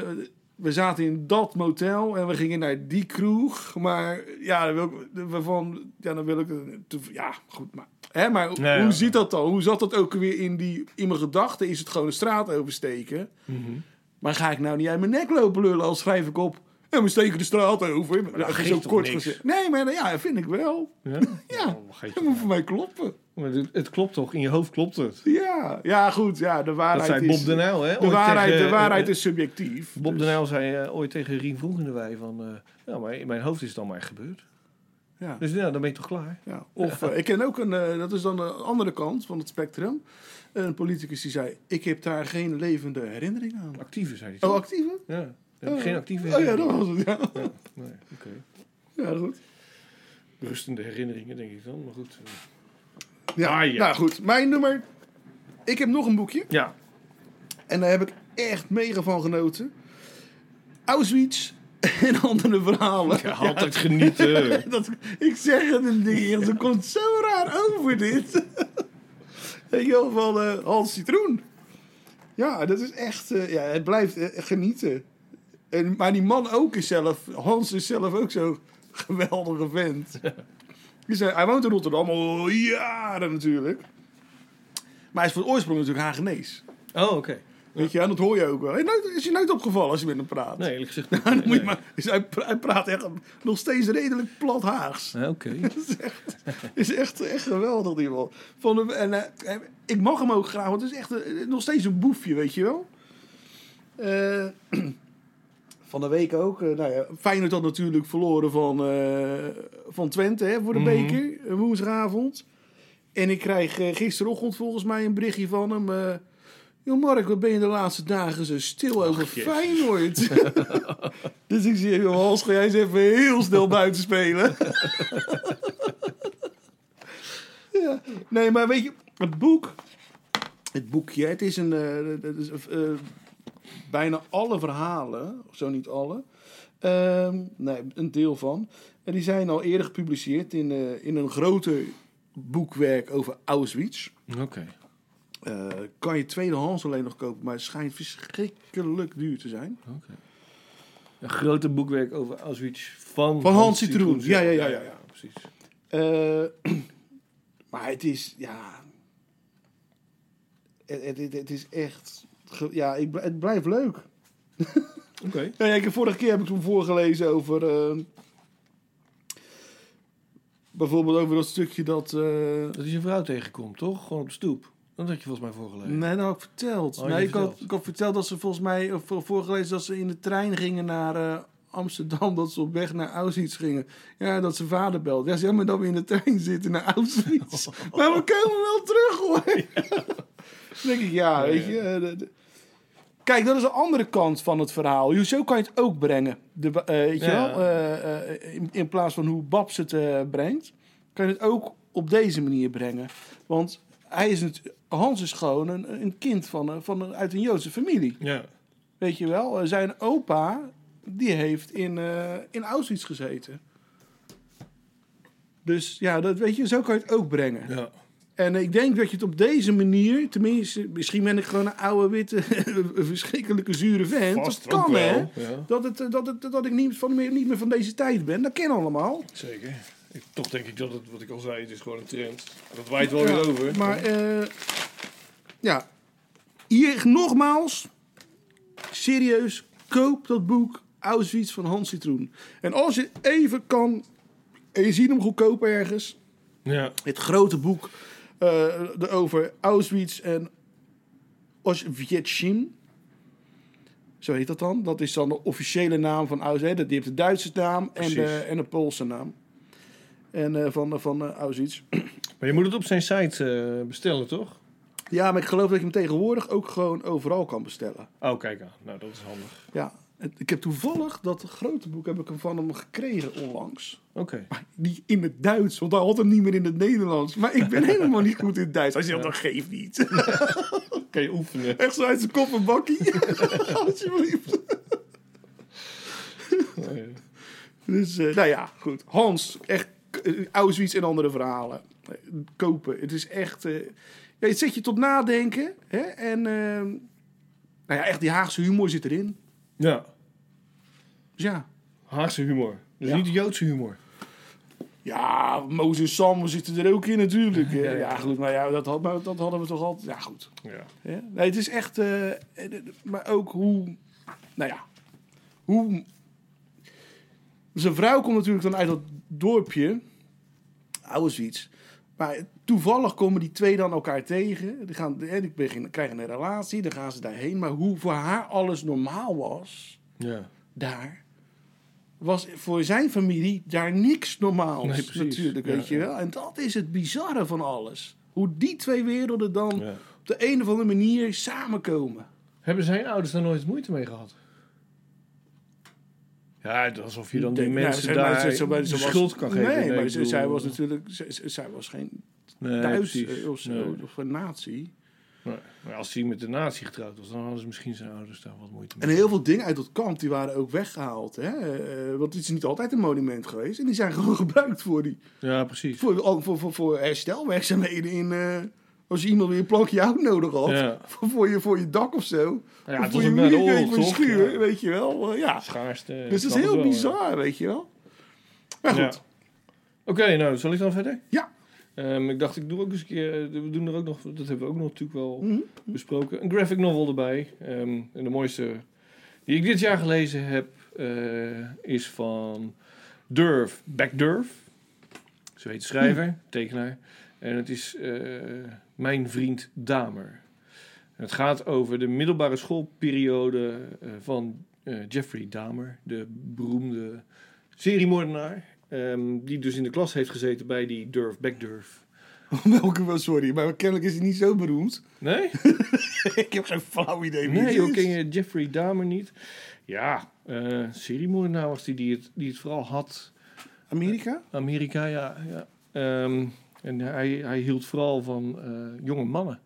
S6: eh, we zaten in dat motel en we gingen naar die kroeg. Maar ja, dan wil ik, waarvan, ja, dan wil ik... te- Ja, goed, maar... Hè, maar hoe
S5: ja.
S6: zit dat dan? Hoe zat dat ook weer in, die, in mijn gedachten?
S5: Mhm.
S6: Is het gewoon een straat oversteken? Maar ga ik nou niet uit mijn nek lopen lullen als schrijf ik op... En we steken de straat over. Maar
S5: dat
S6: dat is
S5: geeft
S6: zo
S5: toch
S6: kort
S5: niks?
S6: gezegd. Nee, maar ja, vind ik wel.
S5: Ja?
S6: Ja,
S5: Oh, geef
S6: dat
S5: toch
S6: moet voor mij kloppen.
S5: Maar het, het klopt toch? In je hoofd klopt het.
S6: Ja, ja goed. Ja, de
S5: Dat
S6: waarheid
S5: zei
S6: is...
S5: Bob de Nijl, hè?
S6: de
S5: ooit
S6: waarheid,
S5: tegen,
S6: de waarheid
S5: eh,
S6: is subjectief.
S5: Bob de
S6: Dus,
S5: Nijl zei eh, ooit tegen Rien Vroegendewij van... eh, ja, maar in mijn hoofd is het dan maar gebeurd.
S6: Ja.
S5: Dus ja, dan ben je toch klaar?
S6: Ja. Of eh, ik ken ook een, eh, dat is dan de andere kant van het spectrum. Een politicus die zei: Ik heb daar geen levende herinnering aan.
S5: Actieve, zei hij. toch?
S6: Oh, actieve?
S5: Ja, Dan heb ik geen actieve
S6: Oh ja,
S5: herinneringen.
S6: dat was het. Ja, ja.
S5: Nee, oké.
S6: goed.
S5: Rustende herinneringen, denk ik dan. Maar goed. eh.
S6: Ja,
S5: Ah, ja.
S6: Nou goed, mijn nummer. Ik heb nog een boekje.
S5: Ja,
S6: En daar heb ik echt mega van genoten. Auschwitz en andere verhalen.
S5: altijd genieten.
S6: Dat, ik zeg het een ding, het komt zo raar over dit. In ieder geval eh Hans Citroen. Ja, dat is echt, eh, ja, het blijft eh, genieten. En, maar die man ook is zelf, Hans is zelf ook zo'n geweldige vent. Die zei, hij woont in Rotterdam al jaren natuurlijk. Maar hij is van oorsprong natuurlijk Hagenees.
S5: Oh, oké.
S6: Weet je, en dat hoor je ook wel. Hey, nooit- is je nooit opgevallen als je met hem praat?
S5: Nee, eerlijk gezegd.
S6: Dan moet
S5: nee.
S6: je maar, dus hij, pra- hij praat echt nog steeds redelijk plat Haags.
S5: Ja, Oké.
S6: Dat is echt, is echt, echt geweldig, die man. Van hem, en, eh, ik mag hem ook graag, want het is echt eh, nog steeds een boefje, weet je wel. Eh, van de week ook. eh, nou ja, Feyenoord had natuurlijk verloren van, eh, van Twente hè, voor de
S5: Mhm.
S6: beker, eh, woensdagavond. En ik krijg eh, gisterochtend volgens mij een berichtje van hem... eh, Joh Mark, wat ben je de laatste dagen zo stil over
S5: jezus.
S6: Feyenoord? dus ik zie, joh Hans, ga jij eens even heel snel buiten spelen. ja. Nee, maar weet je, het boek... Het boekje, het is een... eh, het is, eh, eh, bijna alle verhalen, of zo niet alle... ehm, nee, een deel van. En die zijn al eerder gepubliceerd in, eh, in een groter boekwerk over Auschwitz.
S5: Oké.
S6: Eh, kan je tweedehands alleen nog kopen, maar het schijnt verschrikkelijk duur te zijn.
S5: oké. Een grote boekwerk over Auschwitz van...
S6: Van Hans Citroen.
S5: Citroen.
S6: Ja, ja, ja, ja, ja.
S5: Precies.
S6: Eh, maar het is, ja. Het, het, het, het is echt. ge- Ja, ik, bl- het blijft leuk.
S5: Oké.
S6: Nou ja, ik heb, vorige keer heb ik toen voorgelezen over. eh, bijvoorbeeld over dat stukje dat. eh,
S5: Dat hij zijn vrouw tegenkomt, toch? Gewoon op de stoep. Dat had je volgens mij voorgelezen.
S6: Nee, dat had ik verteld.
S5: Oh, je
S6: nee, ik, Had,
S5: verteld.
S6: ik had verteld dat ze volgens mij, of voor- voorgelezen dat ze in de trein gingen naar eh, Amsterdam, dat ze op weg naar Auschwitz gingen. Ja, dat ze vader belde. Ja, zeg maar dat we in de trein zitten naar Auschwitz. Maar we komen wel terug hoor. Dan denk ik, ja,
S5: Ja,
S6: weet
S5: ja.
S6: je. eh, de- de- Kijk, dat is de andere kant van het verhaal. Jo, Zo kan je het ook brengen. De, wa- eh, weet je
S5: Ja.
S6: wel? Eh, eh, in, in plaats van hoe Babs het eh, brengt, kan je het ook op deze manier brengen. Want hij is het, Hans is gewoon een, een kind van, een- van een, uit een Joodse familie.
S5: Ja.
S6: Weet je wel? Eh, Zijn opa, die heeft in, eh, in Auschwitz gezeten. Dus ja, dat, weet je, zo kan je het ook brengen.
S5: Ja.
S6: En ik denk dat je het op deze manier, tenminste, misschien ben ik gewoon een oude witte, verschrikkelijke zure vent. dat kan hè.
S5: Ja.
S6: Dat, het, eh, dat, het, dat ik niet, van, meer, niet meer van deze tijd ben, dat ken allemaal.
S5: Zeker. Ik, toch denk ik dat het, wat ik al zei, het is gewoon een trend. Dat waait wel weer
S6: Ja,
S5: over.
S6: Maar eh, ja, hier nogmaals, serieus, koop dat boek Auschwitz van Hans Citroen. En als je even kan, en je ziet hem goedkoop ergens,
S5: Ja.
S6: het grote boek eh over Auschwitz en Oswiecim. Zo heet dat dan. Dat is dan de officiële naam van Auschwitz. hè. Die heeft de Duitse naam en de,
S5: Precies.
S6: en de Poolse naam. En eh, van, van eh, Auschwitz.
S5: Maar je moet het op zijn site eh, bestellen, toch?
S6: Ja, maar ik geloof dat je hem tegenwoordig ook gewoon overal kan bestellen.
S5: Oh, kijk aan. Nou, dat is handig.
S6: Ja. Het- Ik heb toevallig dat grote boek heb ik hem van hem gekregen onlangs.
S5: Oké.
S6: Die in het Duits, want hij had hem niet meer in het Nederlands. Maar ik ben helemaal niet goed in het Duits. Hij zegt, dat geeft niet.
S5: Kan je oefenen.
S6: Echt zo uit zijn kop een bakkie. Alsjeblieft.
S5: Oh,
S6: Dus, eh, nou ja, goed. Hans, echt eh, Auschwitz en andere verhalen. Eh, Kopen. Het is echt... eh, ja, het zet je tot nadenken. Hè? En ehm, nou ja, echt die Haagse humor zit erin.
S5: Ja.
S6: Dus ja.
S5: Haagse humor. Dus niet de Joodse humor.
S6: Ja, Moos en Sam zitten er ook in natuurlijk. hè.
S5: Ja, ja.
S6: Ja, goed. Maar ja, dat, had, maar dat hadden we toch altijd... Ja, goed.
S5: Ja.
S6: Hè? Nee, het is echt. eh, eh, maar ook hoe. Nou ja. Hoe. Zijn vrouw komt natuurlijk dan uit dat dorpje. Auschwitz. Maar toevallig komen die twee dan elkaar tegen. Die, gaan, hè, die beginnen, krijgen een relatie, dan gaan ze daarheen. Maar hoe voor haar alles normaal was,
S5: Ja.
S6: daar, was voor zijn familie daar niks normaals.
S5: Nee, precies.
S6: Natuurlijk,
S5: Ja,
S6: weet je
S5: ja.
S6: wel. En dat is het bizarre van alles. Hoe die twee werelden dan
S5: Ja.
S6: op de een of andere manier samenkomen.
S5: Hebben zijn ouders daar nooit moeite mee gehad? Ja, alsof je dan die
S6: Denk- nou,
S5: mensen
S6: zij- maar
S5: daar
S6: zij- zij-
S5: de
S6: zij was-
S5: schuld kan geven.
S6: Nee,
S5: ik
S6: maar zij-
S5: bedoel-
S6: zij was natuurlijk... zij- zij- Zij was geen
S5: Nee,
S6: thuis
S5: precies.
S6: eh, of, zo,
S5: Nee.
S6: of een nazi.
S5: Nee. Maar als hij met de nazi getrouwd was, dan hadden ze misschien zijn ouders daar wat moeite mee.
S6: En heel veel dingen uit dat kamp die waren ook weggehaald. Hè? Eh, want het is niet altijd een monument geweest. En die zijn gewoon gebruikt voor, die,
S5: Ja, precies.
S6: voor, al- voor, voor, voor herstelwerkzaamheden. In, eh, als je iemand weer een plankje hout nodig had.
S5: Ja.
S6: Voor, voor je, voor je dak of zo.
S5: Ja,
S6: Of
S5: het was
S6: voor je
S5: ook na de
S6: muurkeuken
S5: oorlog,
S6: voor je
S5: toch?
S6: schuur,
S5: Ja.
S6: weet je wel. Eh, ja.
S5: Schaarste. ik
S6: Dus dat
S5: snap
S6: is heel
S5: het wel, ja.
S6: bizar, weet je wel. Maar
S5: Ja.
S6: goed.
S5: Oké, nou, zal ik dan verder?
S6: Ja.
S5: Ehm, ik dacht, ik doe ook eens een keer... eh, We doen er ook nog... Dat hebben we ook nog natuurlijk wel besproken. Een graphic novel erbij. Ehm, en de mooiste die ik dit jaar gelezen heb... eh, is van Durf, Beck Durf. Zweedse schrijver, tekenaar. En het is eh, Mijn Vriend Damer. En het gaat over de middelbare schoolperiode eh, van eh, Jeffrey Dahmer. De beroemde seriemoordenaar. ehm, die dus in de klas heeft gezeten bij die Durf, Beck Durf.
S6: Welke wel, sorry. Maar kennelijk is hij niet zo beroemd.
S5: Nee?
S6: ik heb geen flauw idee wie
S5: Nee,
S6: het
S5: ook
S6: is.
S5: ken je Jeffrey Dahmer niet. Ja, eh seriemoordenaar was die die het, die het vooral had.
S6: Amerika?
S5: Amerika, ja. ja. Ehm, en hij, hij hield vooral van eh, jonge mannen.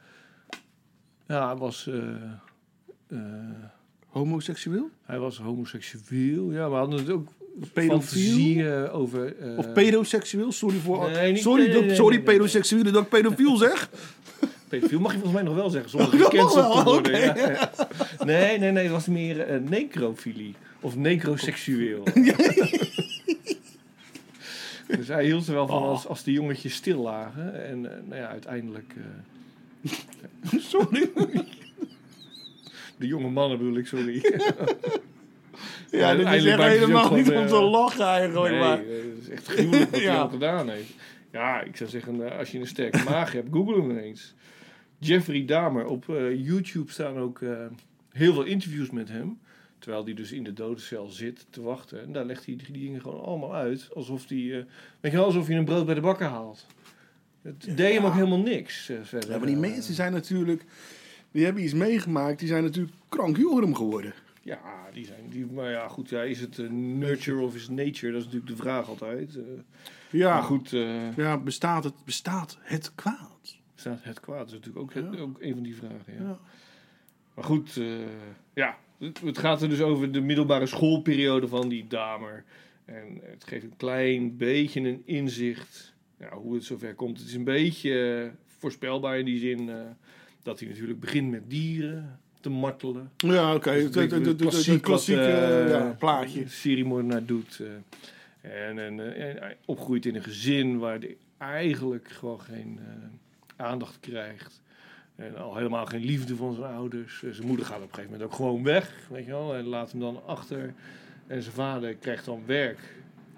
S5: Ja, hij was... eh, eh,
S6: Homoseksueel?
S5: Hij was homoseksueel, ja, maar hadden het ook
S6: Pedofiel?
S5: fantasieën over... eh,
S6: Of pedoseksueel? Sorry voor.
S5: Nee, niet-
S6: sorry,
S5: nee, nee,
S6: dat-
S5: nee,
S6: sorry
S5: nee, nee, nee.
S6: pedoseksuelen dat ik pedofiel zeg.
S5: pedofiel mag je volgens mij nog wel zeggen, zonder
S6: Oh, dat mag
S5: gecanceld te
S6: wel,
S5: worden.
S6: oké.
S5: ja, ja. Nee, nee, nee, het was meer eh, necrofilie. Of necroseksueel. dus hij hield er wel van
S6: Oh.
S5: als, als de jongetjes stil lagen. En eh, nou ja, uiteindelijk... eh,
S6: sorry.
S5: de jonge mannen bedoel ik, sorry.
S6: Ja, dat is
S5: Eindelijk
S6: echt
S5: maakt hij
S6: helemaal
S5: ook
S6: niet
S5: gewoon,
S6: om
S5: eh,
S6: te lachen eigenlijk.
S5: Nee,
S6: maar.
S5: eh, dat is echt gruwelijk wat hij
S6: Ja.
S5: al gedaan heeft. Ja, ik zou zeggen, eh, als je een sterke maag hebt, google hem eens. Jeffrey Dahmer. Op eh, YouTube staan ook eh, heel veel interviews met hem. Terwijl hij dus in de dodencel zit te wachten. En daar legt hij die dingen gewoon allemaal uit. Alsof hij, eh, weet je wel, alsof je een brood bij de bakker haalt. Het deed hem ook helemaal niks. eh, verder.
S6: Ja, maar die mensen zijn natuurlijk. Die hebben iets meegemaakt, die zijn natuurlijk krankjorum geworden.
S5: Eh, Ja, die zijn... Die, maar ja, goed, ja, is het eh, nurture of is nature? Dat is natuurlijk de vraag altijd. Eh,
S6: Ja,
S5: maar goed... eh,
S6: Ja, bestaat het, bestaat het kwaad?
S5: staat het kwaad. Dat is natuurlijk ook, het-
S6: Ja.
S5: ook een van die vragen. Ja.
S6: Ja.
S5: Maar goed, eh, ja. Het, het gaat er dus over de middelbare schoolperiode van die damer. En het geeft een klein beetje een inzicht ja, hoe het zover komt. Het is een beetje eh, voorspelbaar in die zin eh, dat hij natuurlijk begint met dieren te martelen.
S6: Ja, oké.
S5: Dus
S6: Het het- het- het- het- het
S5: klassiek wat,
S6: klassieke
S5: eh,
S6: ja, plaatje.
S5: seriemoordenaar doet. eh, en, en, eh, en hij opgroeit in een gezin waar hij eigenlijk gewoon geen eh, aandacht krijgt. En al helemaal geen liefde van zijn ouders. Eh, Zijn moeder gaat op een gegeven moment ook gewoon weg, weet je wel. En laat hem dan achter. En zijn vader krijgt dan werk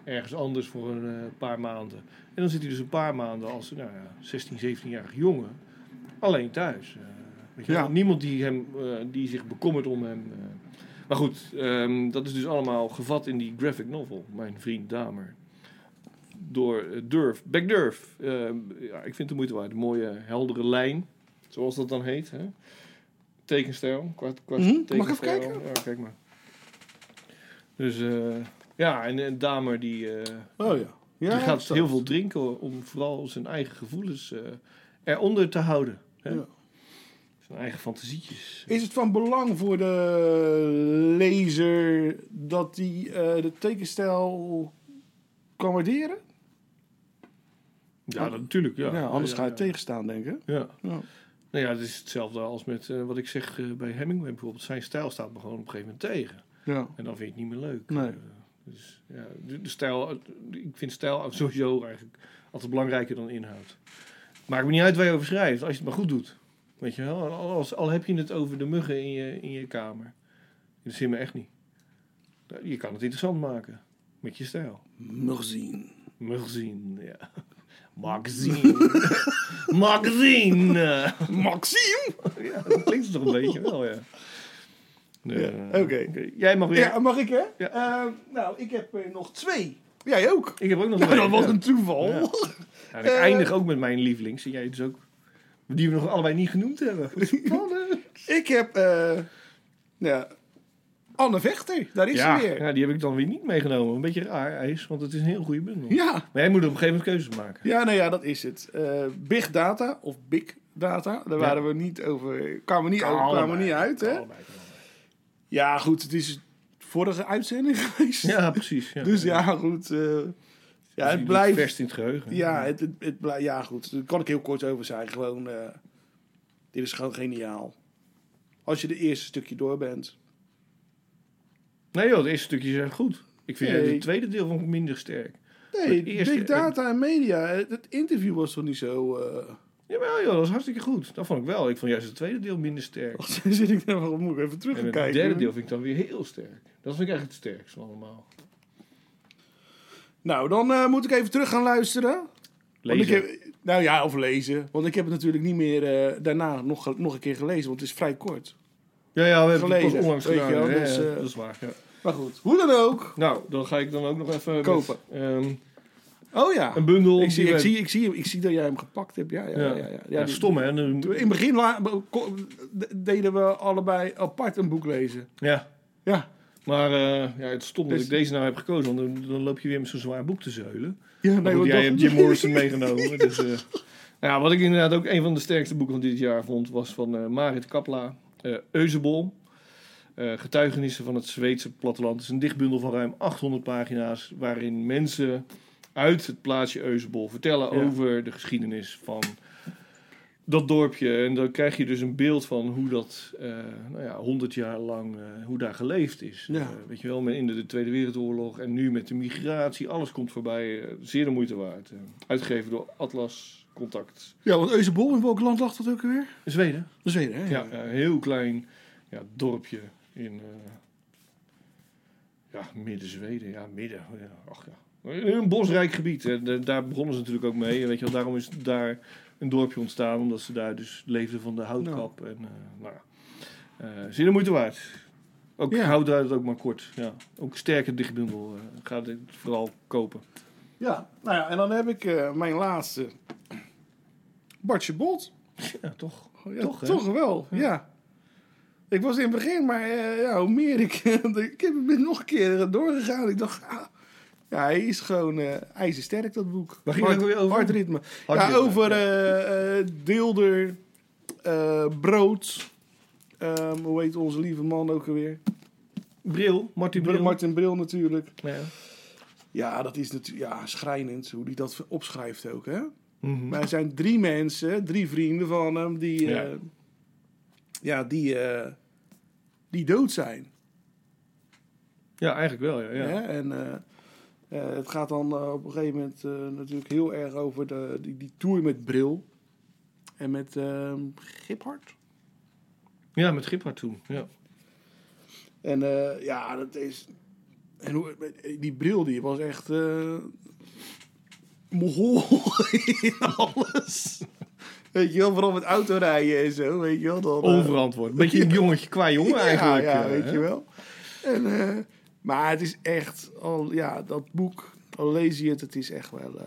S5: ergens anders voor een eh, paar maanden. En dan zit hij dus een paar maanden als nou ja, 16, 17-jarig jongen alleen thuis. Eh, weet je
S6: Ja.
S5: wel, Niemand die, hem, eh, die zich bekommert om hem. eh. Maar goed, ehm, dat is dus allemaal gevat in die graphic novel, Mijn Vriend Damer. Door eh, Durf, Beck Durf. Ehm, ja, ik vind het de moeite waard. Een mooie, heldere lijn, zoals dat dan heet. Hè? Tekenstijl, qua, qua
S6: Mhm, mag ik even
S5: tekenstijl.
S6: kijken?
S5: Ja, kijk maar. Dus eh, ja, en, en Damer die... eh,
S6: Oh ja. ja
S5: die gaat
S6: dat-
S5: heel veel drinken hoor, om vooral zijn eigen gevoelens eh, eronder te houden. Hè?
S6: Ja.
S5: Zijn eigen fantasietjes.
S6: Is het van belang voor de lezer dat die eh, de tekenstijl kan waarderen?
S5: Ja, dat- natuurlijk. Ja.
S6: Ja, anders
S5: Ja,
S6: ga je
S5: ja,
S6: tegenstaan, denk ik.
S5: Ja.
S6: Ja.
S5: Nou ja, het is hetzelfde als met eh, wat ik zeg eh, bij Hemingway bijvoorbeeld. Zijn stijl staat me gewoon op een gegeven moment tegen.
S6: Ja.
S5: En dan vind je het niet meer leuk.
S6: Nee.
S5: Eh, dus ja, de, de stijl, ik vind stijl sowieso eigenlijk altijd belangrijker dan inhoud. Maakt me niet uit waar je over schrijft, als je het maar goed doet. Weet je wel, al, als- al heb je het over de muggen in je, in je kamer. Dat zit me echt niet. Je kan het interessant maken. Met je stijl.
S6: Magazine.
S5: Magazine, ja. Magazine. Magazine.
S6: Maxime?
S5: Ja, dat klinkt toch een beetje wel, ja. Nee, eh,
S6: oké.
S5: Jij mag weer.
S6: Ja, mag ik hè?
S5: Ja.
S6: Eh, nou, ik heb er nog twee. Jij ook?
S5: Ik heb ook nog
S6: Nou,
S5: twee,
S6: dat was
S5: ja.
S6: een toeval.
S5: Ja. Ja, en ik
S6: Eh,
S5: eindig ook met mijn lievelings. die Jij dus ook. Die we nog allebei niet genoemd hebben. Spannend.
S6: Ik heb, eh, ja, Anne Vechter, daar is
S5: ja,
S6: ze weer.
S5: ja, die heb ik dan weer niet meegenomen. Een beetje raar, IJs, want het is een heel goede bundel.
S6: Ja.
S5: Maar jij moet op een gegeven moment keuzes maken.
S6: Ja, nou ja, dat is het. Eh, big data of big data, daar
S5: Ja.
S6: waren we niet over, kwamen we niet, over,
S5: Allebei.
S6: kwamen we niet uit hè?
S5: Allebei, allebei.
S6: Ja, goed, het is vorige uitzending geweest.
S5: Ja, precies. Ja.
S6: Dus ja, goed. eh, ja,
S5: Dus
S6: het
S5: die
S6: blijft.
S5: Verst in het geheugen.
S6: Ja, het, het, het blij- ja, goed. Daar kan ik heel kort over zijn. Gewoon, eh, dit is gewoon geniaal. Als je de eerste stukje door bent.
S5: Nee joh, het eerste stukje is echt goed. Ik vind
S6: Nee.
S5: het tweede deel vond ik minder sterk. Maar
S6: Nee,
S5: het eh, eerste-
S6: big data en media. Het, het interview was toch niet zo... eh,
S5: Jawel joh, dat is hartstikke goed. Dat vond ik wel. Ik vond juist het tweede deel minder sterk.
S6: Wacht, dan zit ik daar wel moet ik even terug
S5: En
S6: gaan
S5: het
S6: kijken.
S5: derde deel vind ik dan weer heel sterk. Dat vind ik eigenlijk het sterkst van allemaal.
S6: Nou, dan eh, moet ik even terug gaan luisteren. Want ik
S5: Lezen.
S6: heb, nou ja, of lezen. Want ik heb het natuurlijk niet meer eh, daarna nog, ge- nog een keer gelezen. Want het is vrij kort.
S5: Ja, ja, we hebben het
S6: Gelezen,
S5: pas onlangs
S6: weet je
S5: gedaan.
S6: wel,
S5: hè.
S6: dus, eh,
S5: dat is waar. ja.
S6: Maar goed, hoe dan ook.
S5: Nou, dan ga ik dan ook nog even met,
S6: Kopen.
S5: ehm,
S6: Oh ja.
S5: een bundel.
S6: Ik zie,
S5: die
S6: ik,
S5: we-
S6: zie, ik, zie, hem- ik zie dat jij hem gepakt hebt. Ja, ja, ja. ja, ja,
S5: ja,
S6: die-
S5: stom hè. Nu-
S6: In het begin la- ko- d- deden we allebei apart een boek lezen.
S5: Ja.
S6: Ja.
S5: Maar eh, ja, het is stom dat
S6: Dus-
S5: ik deze nou heb gekozen. Want dan, dan loop je weer met zo'n zwaar boek te zeulen.
S6: ja
S5: Maar goed,
S6: want
S5: jij
S6: dat-
S5: hebt Jim Morrison meegenomen. Dus, eh, nou ja, wat ik inderdaad ook een van de sterkste boeken van dit jaar vond, was van eh, Marit Kapla, eh Eusebol. Eh, Getuigenissen van het Zweedse platteland. Het is een dichtbundel van ruim 800 pagina's, waarin mensen uit het plaatsje Eusebol vertellen
S6: Ja.
S5: over de geschiedenis van dat dorpje. En dan krijg je dus een beeld van hoe dat eh nou ja, 100 jaar lang, eh, hoe daar geleefd is.
S6: Ja.
S5: Eh, weet je wel, met in de, de Tweede Wereldoorlog en nu met de migratie, alles komt voorbij. eh, zeer de moeite waard. eh. uitgegeven door Atlas Contact.
S6: Ja, want Eusebol, in welk land lag dat ook weer?
S5: Zweden?
S6: Dat is Zweden, hè?
S5: Ja, een heel klein ja, dorpje in eh, ja, midden Zweden. Ja, midden. oh Ja, ach ja. Eh, Een bosrijk gebied. hè. Da- daar begonnen ze natuurlijk ook mee. Weet je wel, daarom is daar een dorpje ontstaan. Omdat ze daar dus leefden van de houtkap. En, eh nou, ja. Eh, zeer de moeite waard. Ook
S6: Ja.
S5: houd daar het ook maar kort. Ja. Ook sterke dichtbundel. eh, ga dit vooral kopen.
S6: Ja, nou ja, en dan heb ik eh, mijn laatste. Bartje Bot.
S5: Oh Ja, toch.
S6: Ja,
S5: Toch,
S6: toch,
S5: hè?
S6: wel, ja. Ik was in het begin, maar eh, ja, hoe meer ik... ik heb hem nog een keer doorgegaan. Ik dacht, ah, ja, hij is gewoon eh ijzersterk, dat boek.
S5: Waar ging het
S6: Hard-
S5: ook weer over?
S6: Hardritme.
S5: Hardritme,
S6: ja, over
S5: ja.
S6: eh, eh, deelder, eh, brood. Ehm, hoe heet onze lieve man ook alweer?
S5: Bril. Martin Bril.
S6: Martin Bril natuurlijk.
S5: Ja.
S6: Ja, dat is natuurlijk ja, schrijnend hoe hij dat opschrijft ook, hè?
S5: Mhm.
S6: Maar er zijn drie mensen, drie vrienden van hem, die, eh,
S5: Ja.
S6: ja. die, eh, die dood zijn.
S5: ja, eigenlijk wel. Ja, ja.
S6: Hè? En eh, eh, het gaat dan eh, op een gegeven moment eh, natuurlijk heel erg over de, die, die tour met Bril en met ehm Giphart.
S5: ja met Giphart toen. Ja.
S6: En eh, ja, dat is. En hoe, die bril die was echt. eh Mogol in alles. Weet je wel, vooral met autorijden en zo. Weet je wel, dan, eh,
S5: Onverantwoord. Beetje een jongetje qua jongen eigenlijk.
S6: Ja, ja,
S5: eh,
S6: weet
S5: hè?
S6: je wel. En, eh, maar het is echt, al, ja, dat boek, al lees je het, het is echt wel... eh,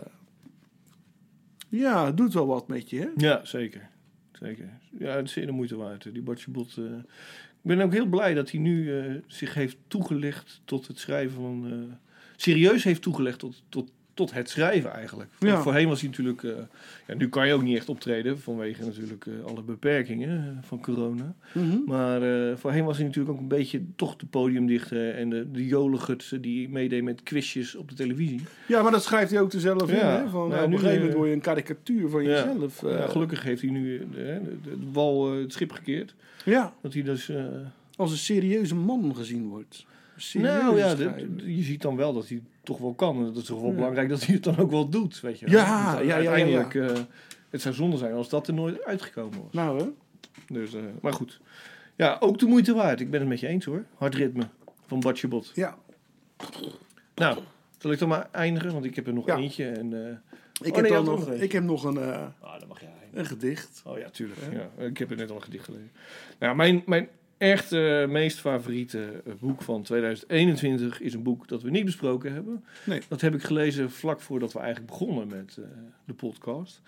S6: ja, het doet wel wat met je, hè?
S5: Ja, zeker. Zeker. Ja, het is zeer de moeite waard. hè. Die Bartje Bot. eh. Ik ben ook heel blij dat hij nu eh, zich heeft toegelegd tot het schrijven van... eh, serieus heeft toegelegd tot, tot, tot het schrijven eigenlijk. Want
S6: Ja.
S5: Voorheen was hij natuurlijk... eh, ja, nu kan je ook niet echt optreden vanwege natuurlijk eh, alle beperkingen eh, van corona. Maar eh, voorheen was hij natuurlijk ook een beetje toch de podiumdichter... en de, de jolengutsen die meedeed met quizjes op de televisie.
S6: Ja, maar dat schrijft hij ook er zelf in,
S5: Ja.
S6: hè? Van,
S5: Ja,
S6: op een
S5: nu,
S6: gegeven moment
S5: eh,
S6: word je een karikatuur van
S5: ja.
S6: jezelf. eh.
S5: Ja, gelukkig heeft hij nu eh, de, hè, de- de wal eh, het schip gekeerd.
S6: Ja,
S5: Dat hij dus. eh,
S6: als een serieuze man gezien wordt. Een serieuze
S5: nou ja, de-
S6: schrijver.
S5: de- je ziet dan wel dat hij het toch wel kan. En dat is toch wel belangrijk dat hij het dan ook wel doet. Weet je. wel.
S6: Ja,
S5: Want, eh,
S6: ja, ja, ja,
S5: uiteindelijk. eh, het zou zonde zijn als dat er nooit uitgekomen was.
S6: Nou, hè?
S5: Dus, eh, maar goed. Ja, ook de moeite waard. Ik ben het met je eens hoor. Hard ritme van Batje Bot.
S6: Ja.
S5: Nou, Zal ik dan maar eindigen? Want ik heb er nog
S6: Ja.
S5: eentje. En, eh,
S6: Ik,
S5: Oh,
S6: heb,
S5: nee, je
S6: dan
S5: had
S6: nog,
S5: nog een.
S6: ik heb nog een, eh,
S5: Ah, dan mag jij eindigen.
S6: een gedicht.
S5: Oh ja, tuurlijk. Ja. Ik heb het net al een gedicht gelezen. Nou, mijn, mijn echt eh, meest favoriete eh, boek van 2021 is een boek dat we niet besproken hebben.
S6: Nee.
S5: Dat heb ik gelezen vlak voordat we eigenlijk begonnen met eh, de podcast.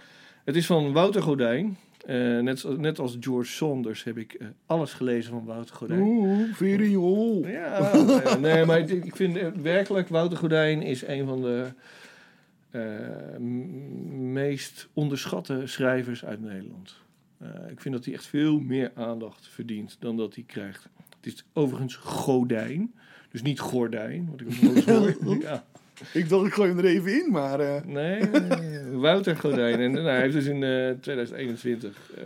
S5: Het is van Wouter Godijn. Eh, net, zo- net als George Saunders heb ik eh, alles gelezen van Wouter Godijn.
S6: Oeh, Viriool.
S5: Ja, eh, nee, maar ik, ik vind eh, werkelijk Wouter Gordijn is een van de eh, m- meest onderschatte schrijvers uit Nederland. Eh, ik vind dat hij echt veel meer aandacht verdient dan dat hij krijgt. Het is overigens Godijn, dus niet Gordijn, wat ik ook nooit hoor. Ja.
S6: Ik dacht, ik gooi hem er even in, maar... eh,
S5: Nee, eh, Wouter Gordijn. En nou, hij heeft dus in eh, 2021 eh,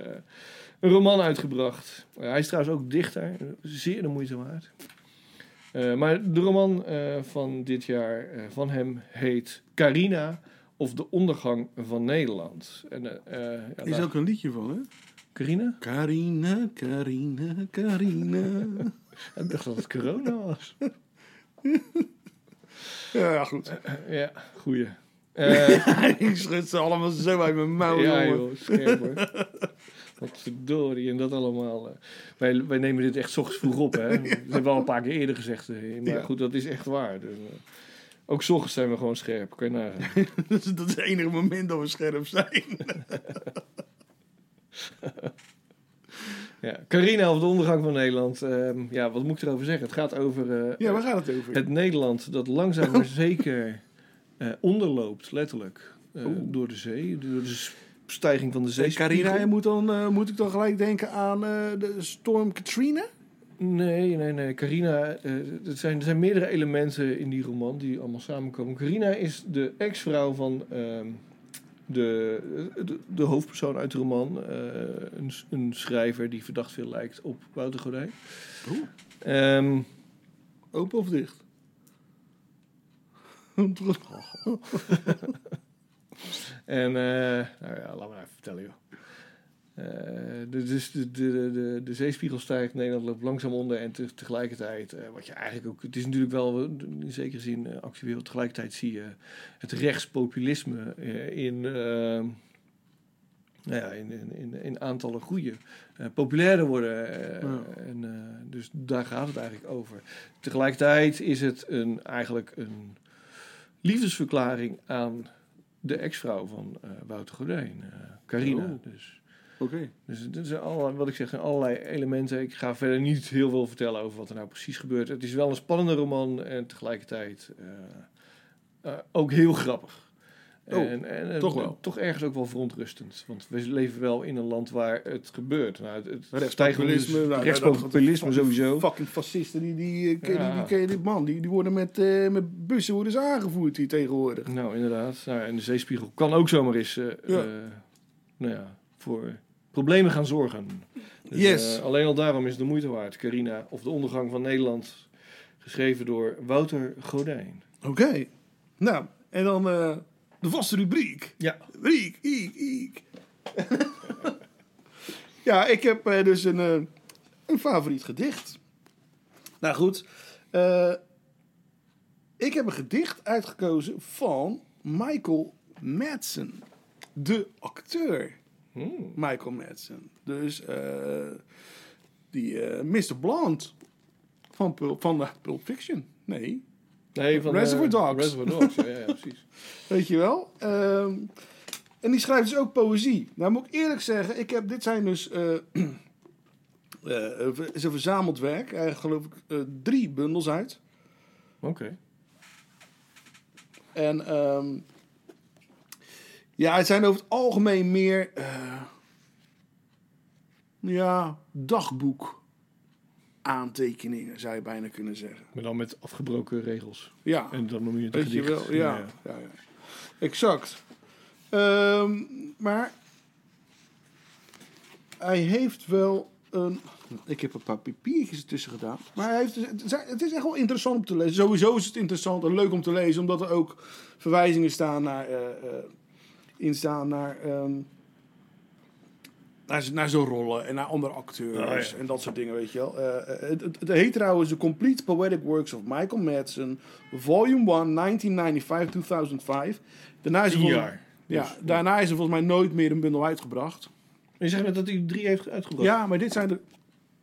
S5: een roman uitgebracht. Eh, hij is trouwens ook dichter, zeer de moeite waard. Eh, maar de roman eh, van dit jaar eh, van hem heet Carina of de ondergang van Nederland. En, eh, eh, ja,
S6: is
S5: daar-
S6: ook een liedje van, hè?
S5: Carina?
S6: Carina, Carina, Carina.
S5: Ik dacht dat het corona was.
S6: Ja, goed.
S5: ja, goeie. Eh,
S6: ik schud ze allemaal zo uit mijn mouw,
S5: ja,
S6: jongen.
S5: joh, scherp hoor. Wat verdorie en dat allemaal. eh. Wij, wij nemen dit echt 's ochtends vroeg op, hè. Dat hebben we al een paar keer eerder gezegd. eh, Maar
S6: Ja.
S5: goed, dat is echt waar. Dus, eh, ook 's ochtends zijn we gewoon scherp, kan je nagaan.
S6: dat, is, dat is het enige moment dat we scherp zijn.
S5: Ja. Carina of de ondergang van Nederland. ehm, ja, wat moet ik erover zeggen? Het gaat over eh,
S6: Ja, waar gaat het over?
S5: het Nederland dat langzaam maar zeker eh, onderloopt, letterlijk. eh, door de zee, door de s- stijging van de zee.
S6: Carina, je moet, dan, eh, moet ik dan gelijk denken aan eh, de storm Katrina?
S5: Nee, nee, nee. Carina, eh, er, zijn, er zijn meerdere elementen in die roman die allemaal samenkomen. Carina is de ex-vrouw van ehm, de, de, de hoofdpersoon uit de roman. Eh, een, s- een schrijver die verdacht veel lijkt op Wouter Gordijn.
S6: Oeh.
S5: Ehm,
S6: Open of dicht?
S5: en, eh, nou ja, laat maar even vertellen, joh. Eh, de- dus de, de, de, de, de zeespiegel stijgt, Nederland loopt langzaam onder en te- tegelijkertijd, eh, wat je eigenlijk ook, het is natuurlijk wel eh, in zekere zin eh, actueel, tegelijkertijd zie je het rechtspopulisme eh, in, eh, nou ja, in, in, in, in aantallen groeien, eh, populairder worden. eh,
S6: Ja.
S5: en, eh, dus daar gaat het eigenlijk over. Tegelijkertijd is het een, eigenlijk een liefdesverklaring aan de ex-vrouw van eh, Wouter Gordijn, eh, Carina.
S6: Oh.
S5: Dus.
S6: Oké.
S5: Dus het zijn allerlei, wat ik zeg, zijn allerlei elementen. Ik ga verder niet heel veel vertellen over wat er nou precies gebeurt. Het is wel een spannende roman en tegelijkertijd eh, eh, ook heel grappig.
S6: Oh,
S5: en, eh,
S6: toch wel.
S5: Toch ergens ook wel verontrustend. Want we leven wel in een land waar het gebeurt. Nou, het, het
S6: Rechtspopulisme, nou, nou,
S5: rechtspopulisme
S6: dat-
S5: sowieso.
S6: Oh. Fucking fascisten, die, die, eh,
S5: Ja.
S6: die, die, die, die- man, die, die worden met, eh, met bussen worden ze aangevoerd hier tegenwoordig.
S5: Nou, inderdaad. Nou, en de zeespiegel kan ook zomaar eens eh,
S6: Ja.
S5: eh, nou ja, voor problemen gaan zorgen. Dus,
S6: Yes.
S5: eh, alleen al daarom is het de moeite waard, Carina. Of de ondergang van Nederland, geschreven door Wouter Godijn.
S6: Oké. Nou, en dan eh, de vaste rubriek.
S5: Ja.
S6: Riek, iek, iek. ja, ik heb eh, dus een, eh, een favoriet gedicht. Nou goed, eh, ik heb een gedicht uitgekozen van Michael Madsen, de acteur. Michael Madsen. Dus eh, die eh, Mr. Blonde van, Pul- van eh, Pulp Fiction. Nee,
S5: Nee, van, eh,
S6: Reservoir Dogs.
S5: Reservoir Dogs, ja, ja, ja, precies.
S6: Weet je wel? Ehm, en die schrijft dus ook poëzie. Nou moet ik eerlijk zeggen, ik heb, dit zijn dus... eh eh, is een verzameld werk. Hij heeft geloof ik eh, drie bundels uit.
S5: Oké.
S6: En ehm, ja, het zijn over het algemeen meer... eh, ja, dagboek aantekeningen zou je bijna kunnen zeggen.
S5: Maar dan met afgebroken regels.
S6: Ja.
S5: En dan noem je het een
S6: Weet je
S5: gedicht.
S6: wel, ja. ja. ja, Exact. Ehm, maar hij heeft wel een... Ik heb een paar papiertjes ertussen gedaan. Maar hij heeft, dus- het zijn- het is echt wel interessant om te lezen. Sowieso is het interessant en leuk om te lezen. Omdat er ook verwijzingen staan naar... eh, eh, in staan naar... ehm, Naar, z- naar zo'n rollen en naar andere acteurs
S5: Oh, ja.
S6: en dat soort dingen, weet je wel. Eh, eh, het, het, het heet trouwens The Complete Poetic Works of Michael Madsen, Volume 1, 1995-2005. Daarna is er
S5: Tien
S6: volgens-
S5: jaar.
S6: Ja,
S5: Dus-
S6: daarna is er volgens mij nooit meer een bundel uitgebracht.
S5: Je zegt net dat hij drie heeft uitgebracht.
S6: Ja, maar dit zijn de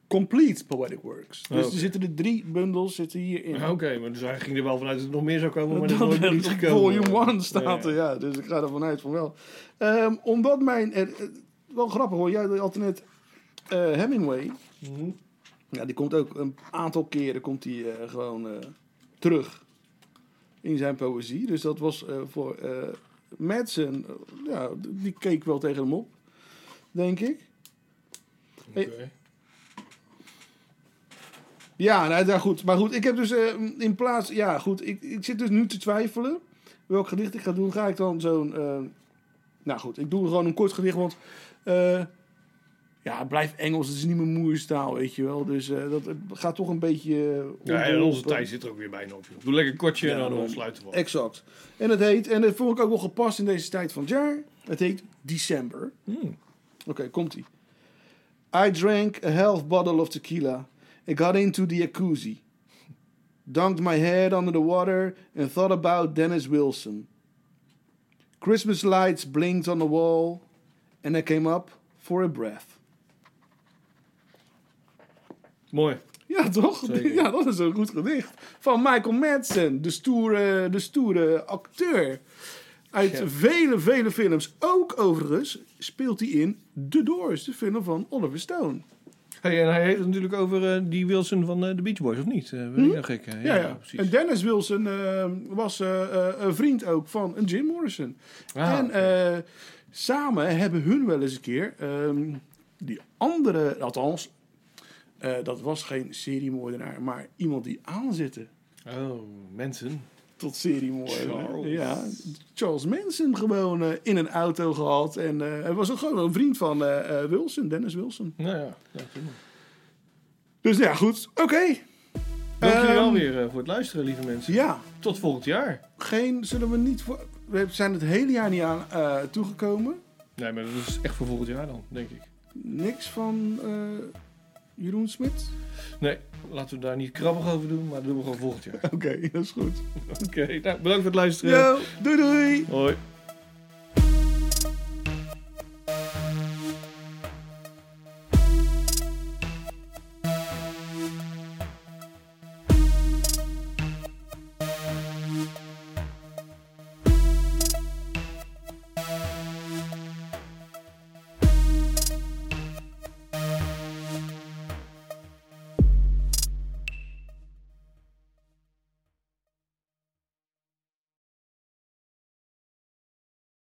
S6: Complete Poetic Works. Dus
S5: oké.
S6: er zitten de drie bundels zitten hierin.
S5: Ah, Oké, maar dus hij ging er wel vanuit dat er nog meer zou komen, maar dat is
S6: Dat
S5: nooit niet
S6: het
S5: gekomen.
S6: volume 1 staat
S5: Ja.
S6: er, ja. Dus ik ga er vanuit van wel. Ehm, omdat mijn... eh, eh, wel grappig hoor, jij had net eh, Hemingway.
S5: Mhm.
S6: Ja, die komt ook een aantal keren komt die, eh, gewoon eh, terug in zijn poëzie. Dus dat was eh, voor eh Madsen... eh, ja, d- die keek wel tegen hem op, denk ik.
S5: Oké.
S6: Ja, nou, daar goed. Maar goed, ik heb dus eh, in plaats... Ja, goed, ik, ik zit dus nu te twijfelen welk gedicht ik ga doen. Ga ik dan zo'n... eh, nou goed, ik doe gewoon een kort gedicht, want... eh, ja, het blijft Engels, het is niet mijn moerstaal, weet je wel. Dus eh, dat eh, gaat toch een beetje... eh,
S5: Ja, en onze
S6: onbeholpen.
S5: tijd zit er ook weer bijna op. joh. Doe lekker een kortje en dan
S6: daarom.
S5: ontsluiten we.
S6: Exact. En het heet, en dat vond ik ook wel gepast in deze tijd van het jaar, het heet December.
S5: Hmm.
S6: Oké, komt-ie. I drank a half bottle of tequila. I got into the jacuzzi. Dunked my head under the water and thought about Dennis Wilson. Christmas lights blinked on the wall and I came up for a breath.
S5: Mooi.
S6: Ja, toch?
S5: Zeker.
S6: Ja, dat is een goed gedicht. Van Michael Madsen, de stoere, de stoere acteur. Uit
S5: Ja.
S6: vele, vele films. Ook overigens speelt hij in The Doors, de film van Oliver Stone.
S5: Hey, en hij heeft het natuurlijk over eh, die Wilson van eh, de Beach Boys, of niet? Eh, ben ik nou gek? hè?
S6: Hm? Ja, ja.
S5: precies.
S6: En Dennis Wilson eh, was eh, eh, een vriend ook van een Jim Morrison.
S5: Ah,
S6: en
S5: oké.
S6: eh, samen hebben hun wel eens een keer ehm, die andere, althans, eh, dat was geen seriemoordenaar, maar iemand die aanzette.
S5: Oh, mensen.
S6: tot seriemoorden.
S5: Charles.
S6: Ja, Charles Manson gewoon eh, in een auto gehad. En eh, hij was ook gewoon een vriend van eh, eh, Wilson, Dennis Wilson.
S5: Nou ja, ja prima.
S6: Dus nou ja, goed. Oké.
S5: Dank jullie wel
S6: Ehm,
S5: weer eh, voor het luisteren, lieve mensen.
S6: Ja,
S5: Tot volgend jaar.
S6: geen, zullen we niet voor... We zijn het hele jaar niet aan eh, toegekomen.
S5: Nee, maar dat is echt voor volgend jaar dan, denk ik.
S6: Niks van eh, Jeroen Smit.
S5: Nee, laten we daar niet krabbig over doen, maar dat doen we gewoon volgend jaar.
S6: Oké, dat is goed.
S5: Oké, nou, bedankt voor het luisteren.
S6: Yo, doei doei!
S5: Hoi.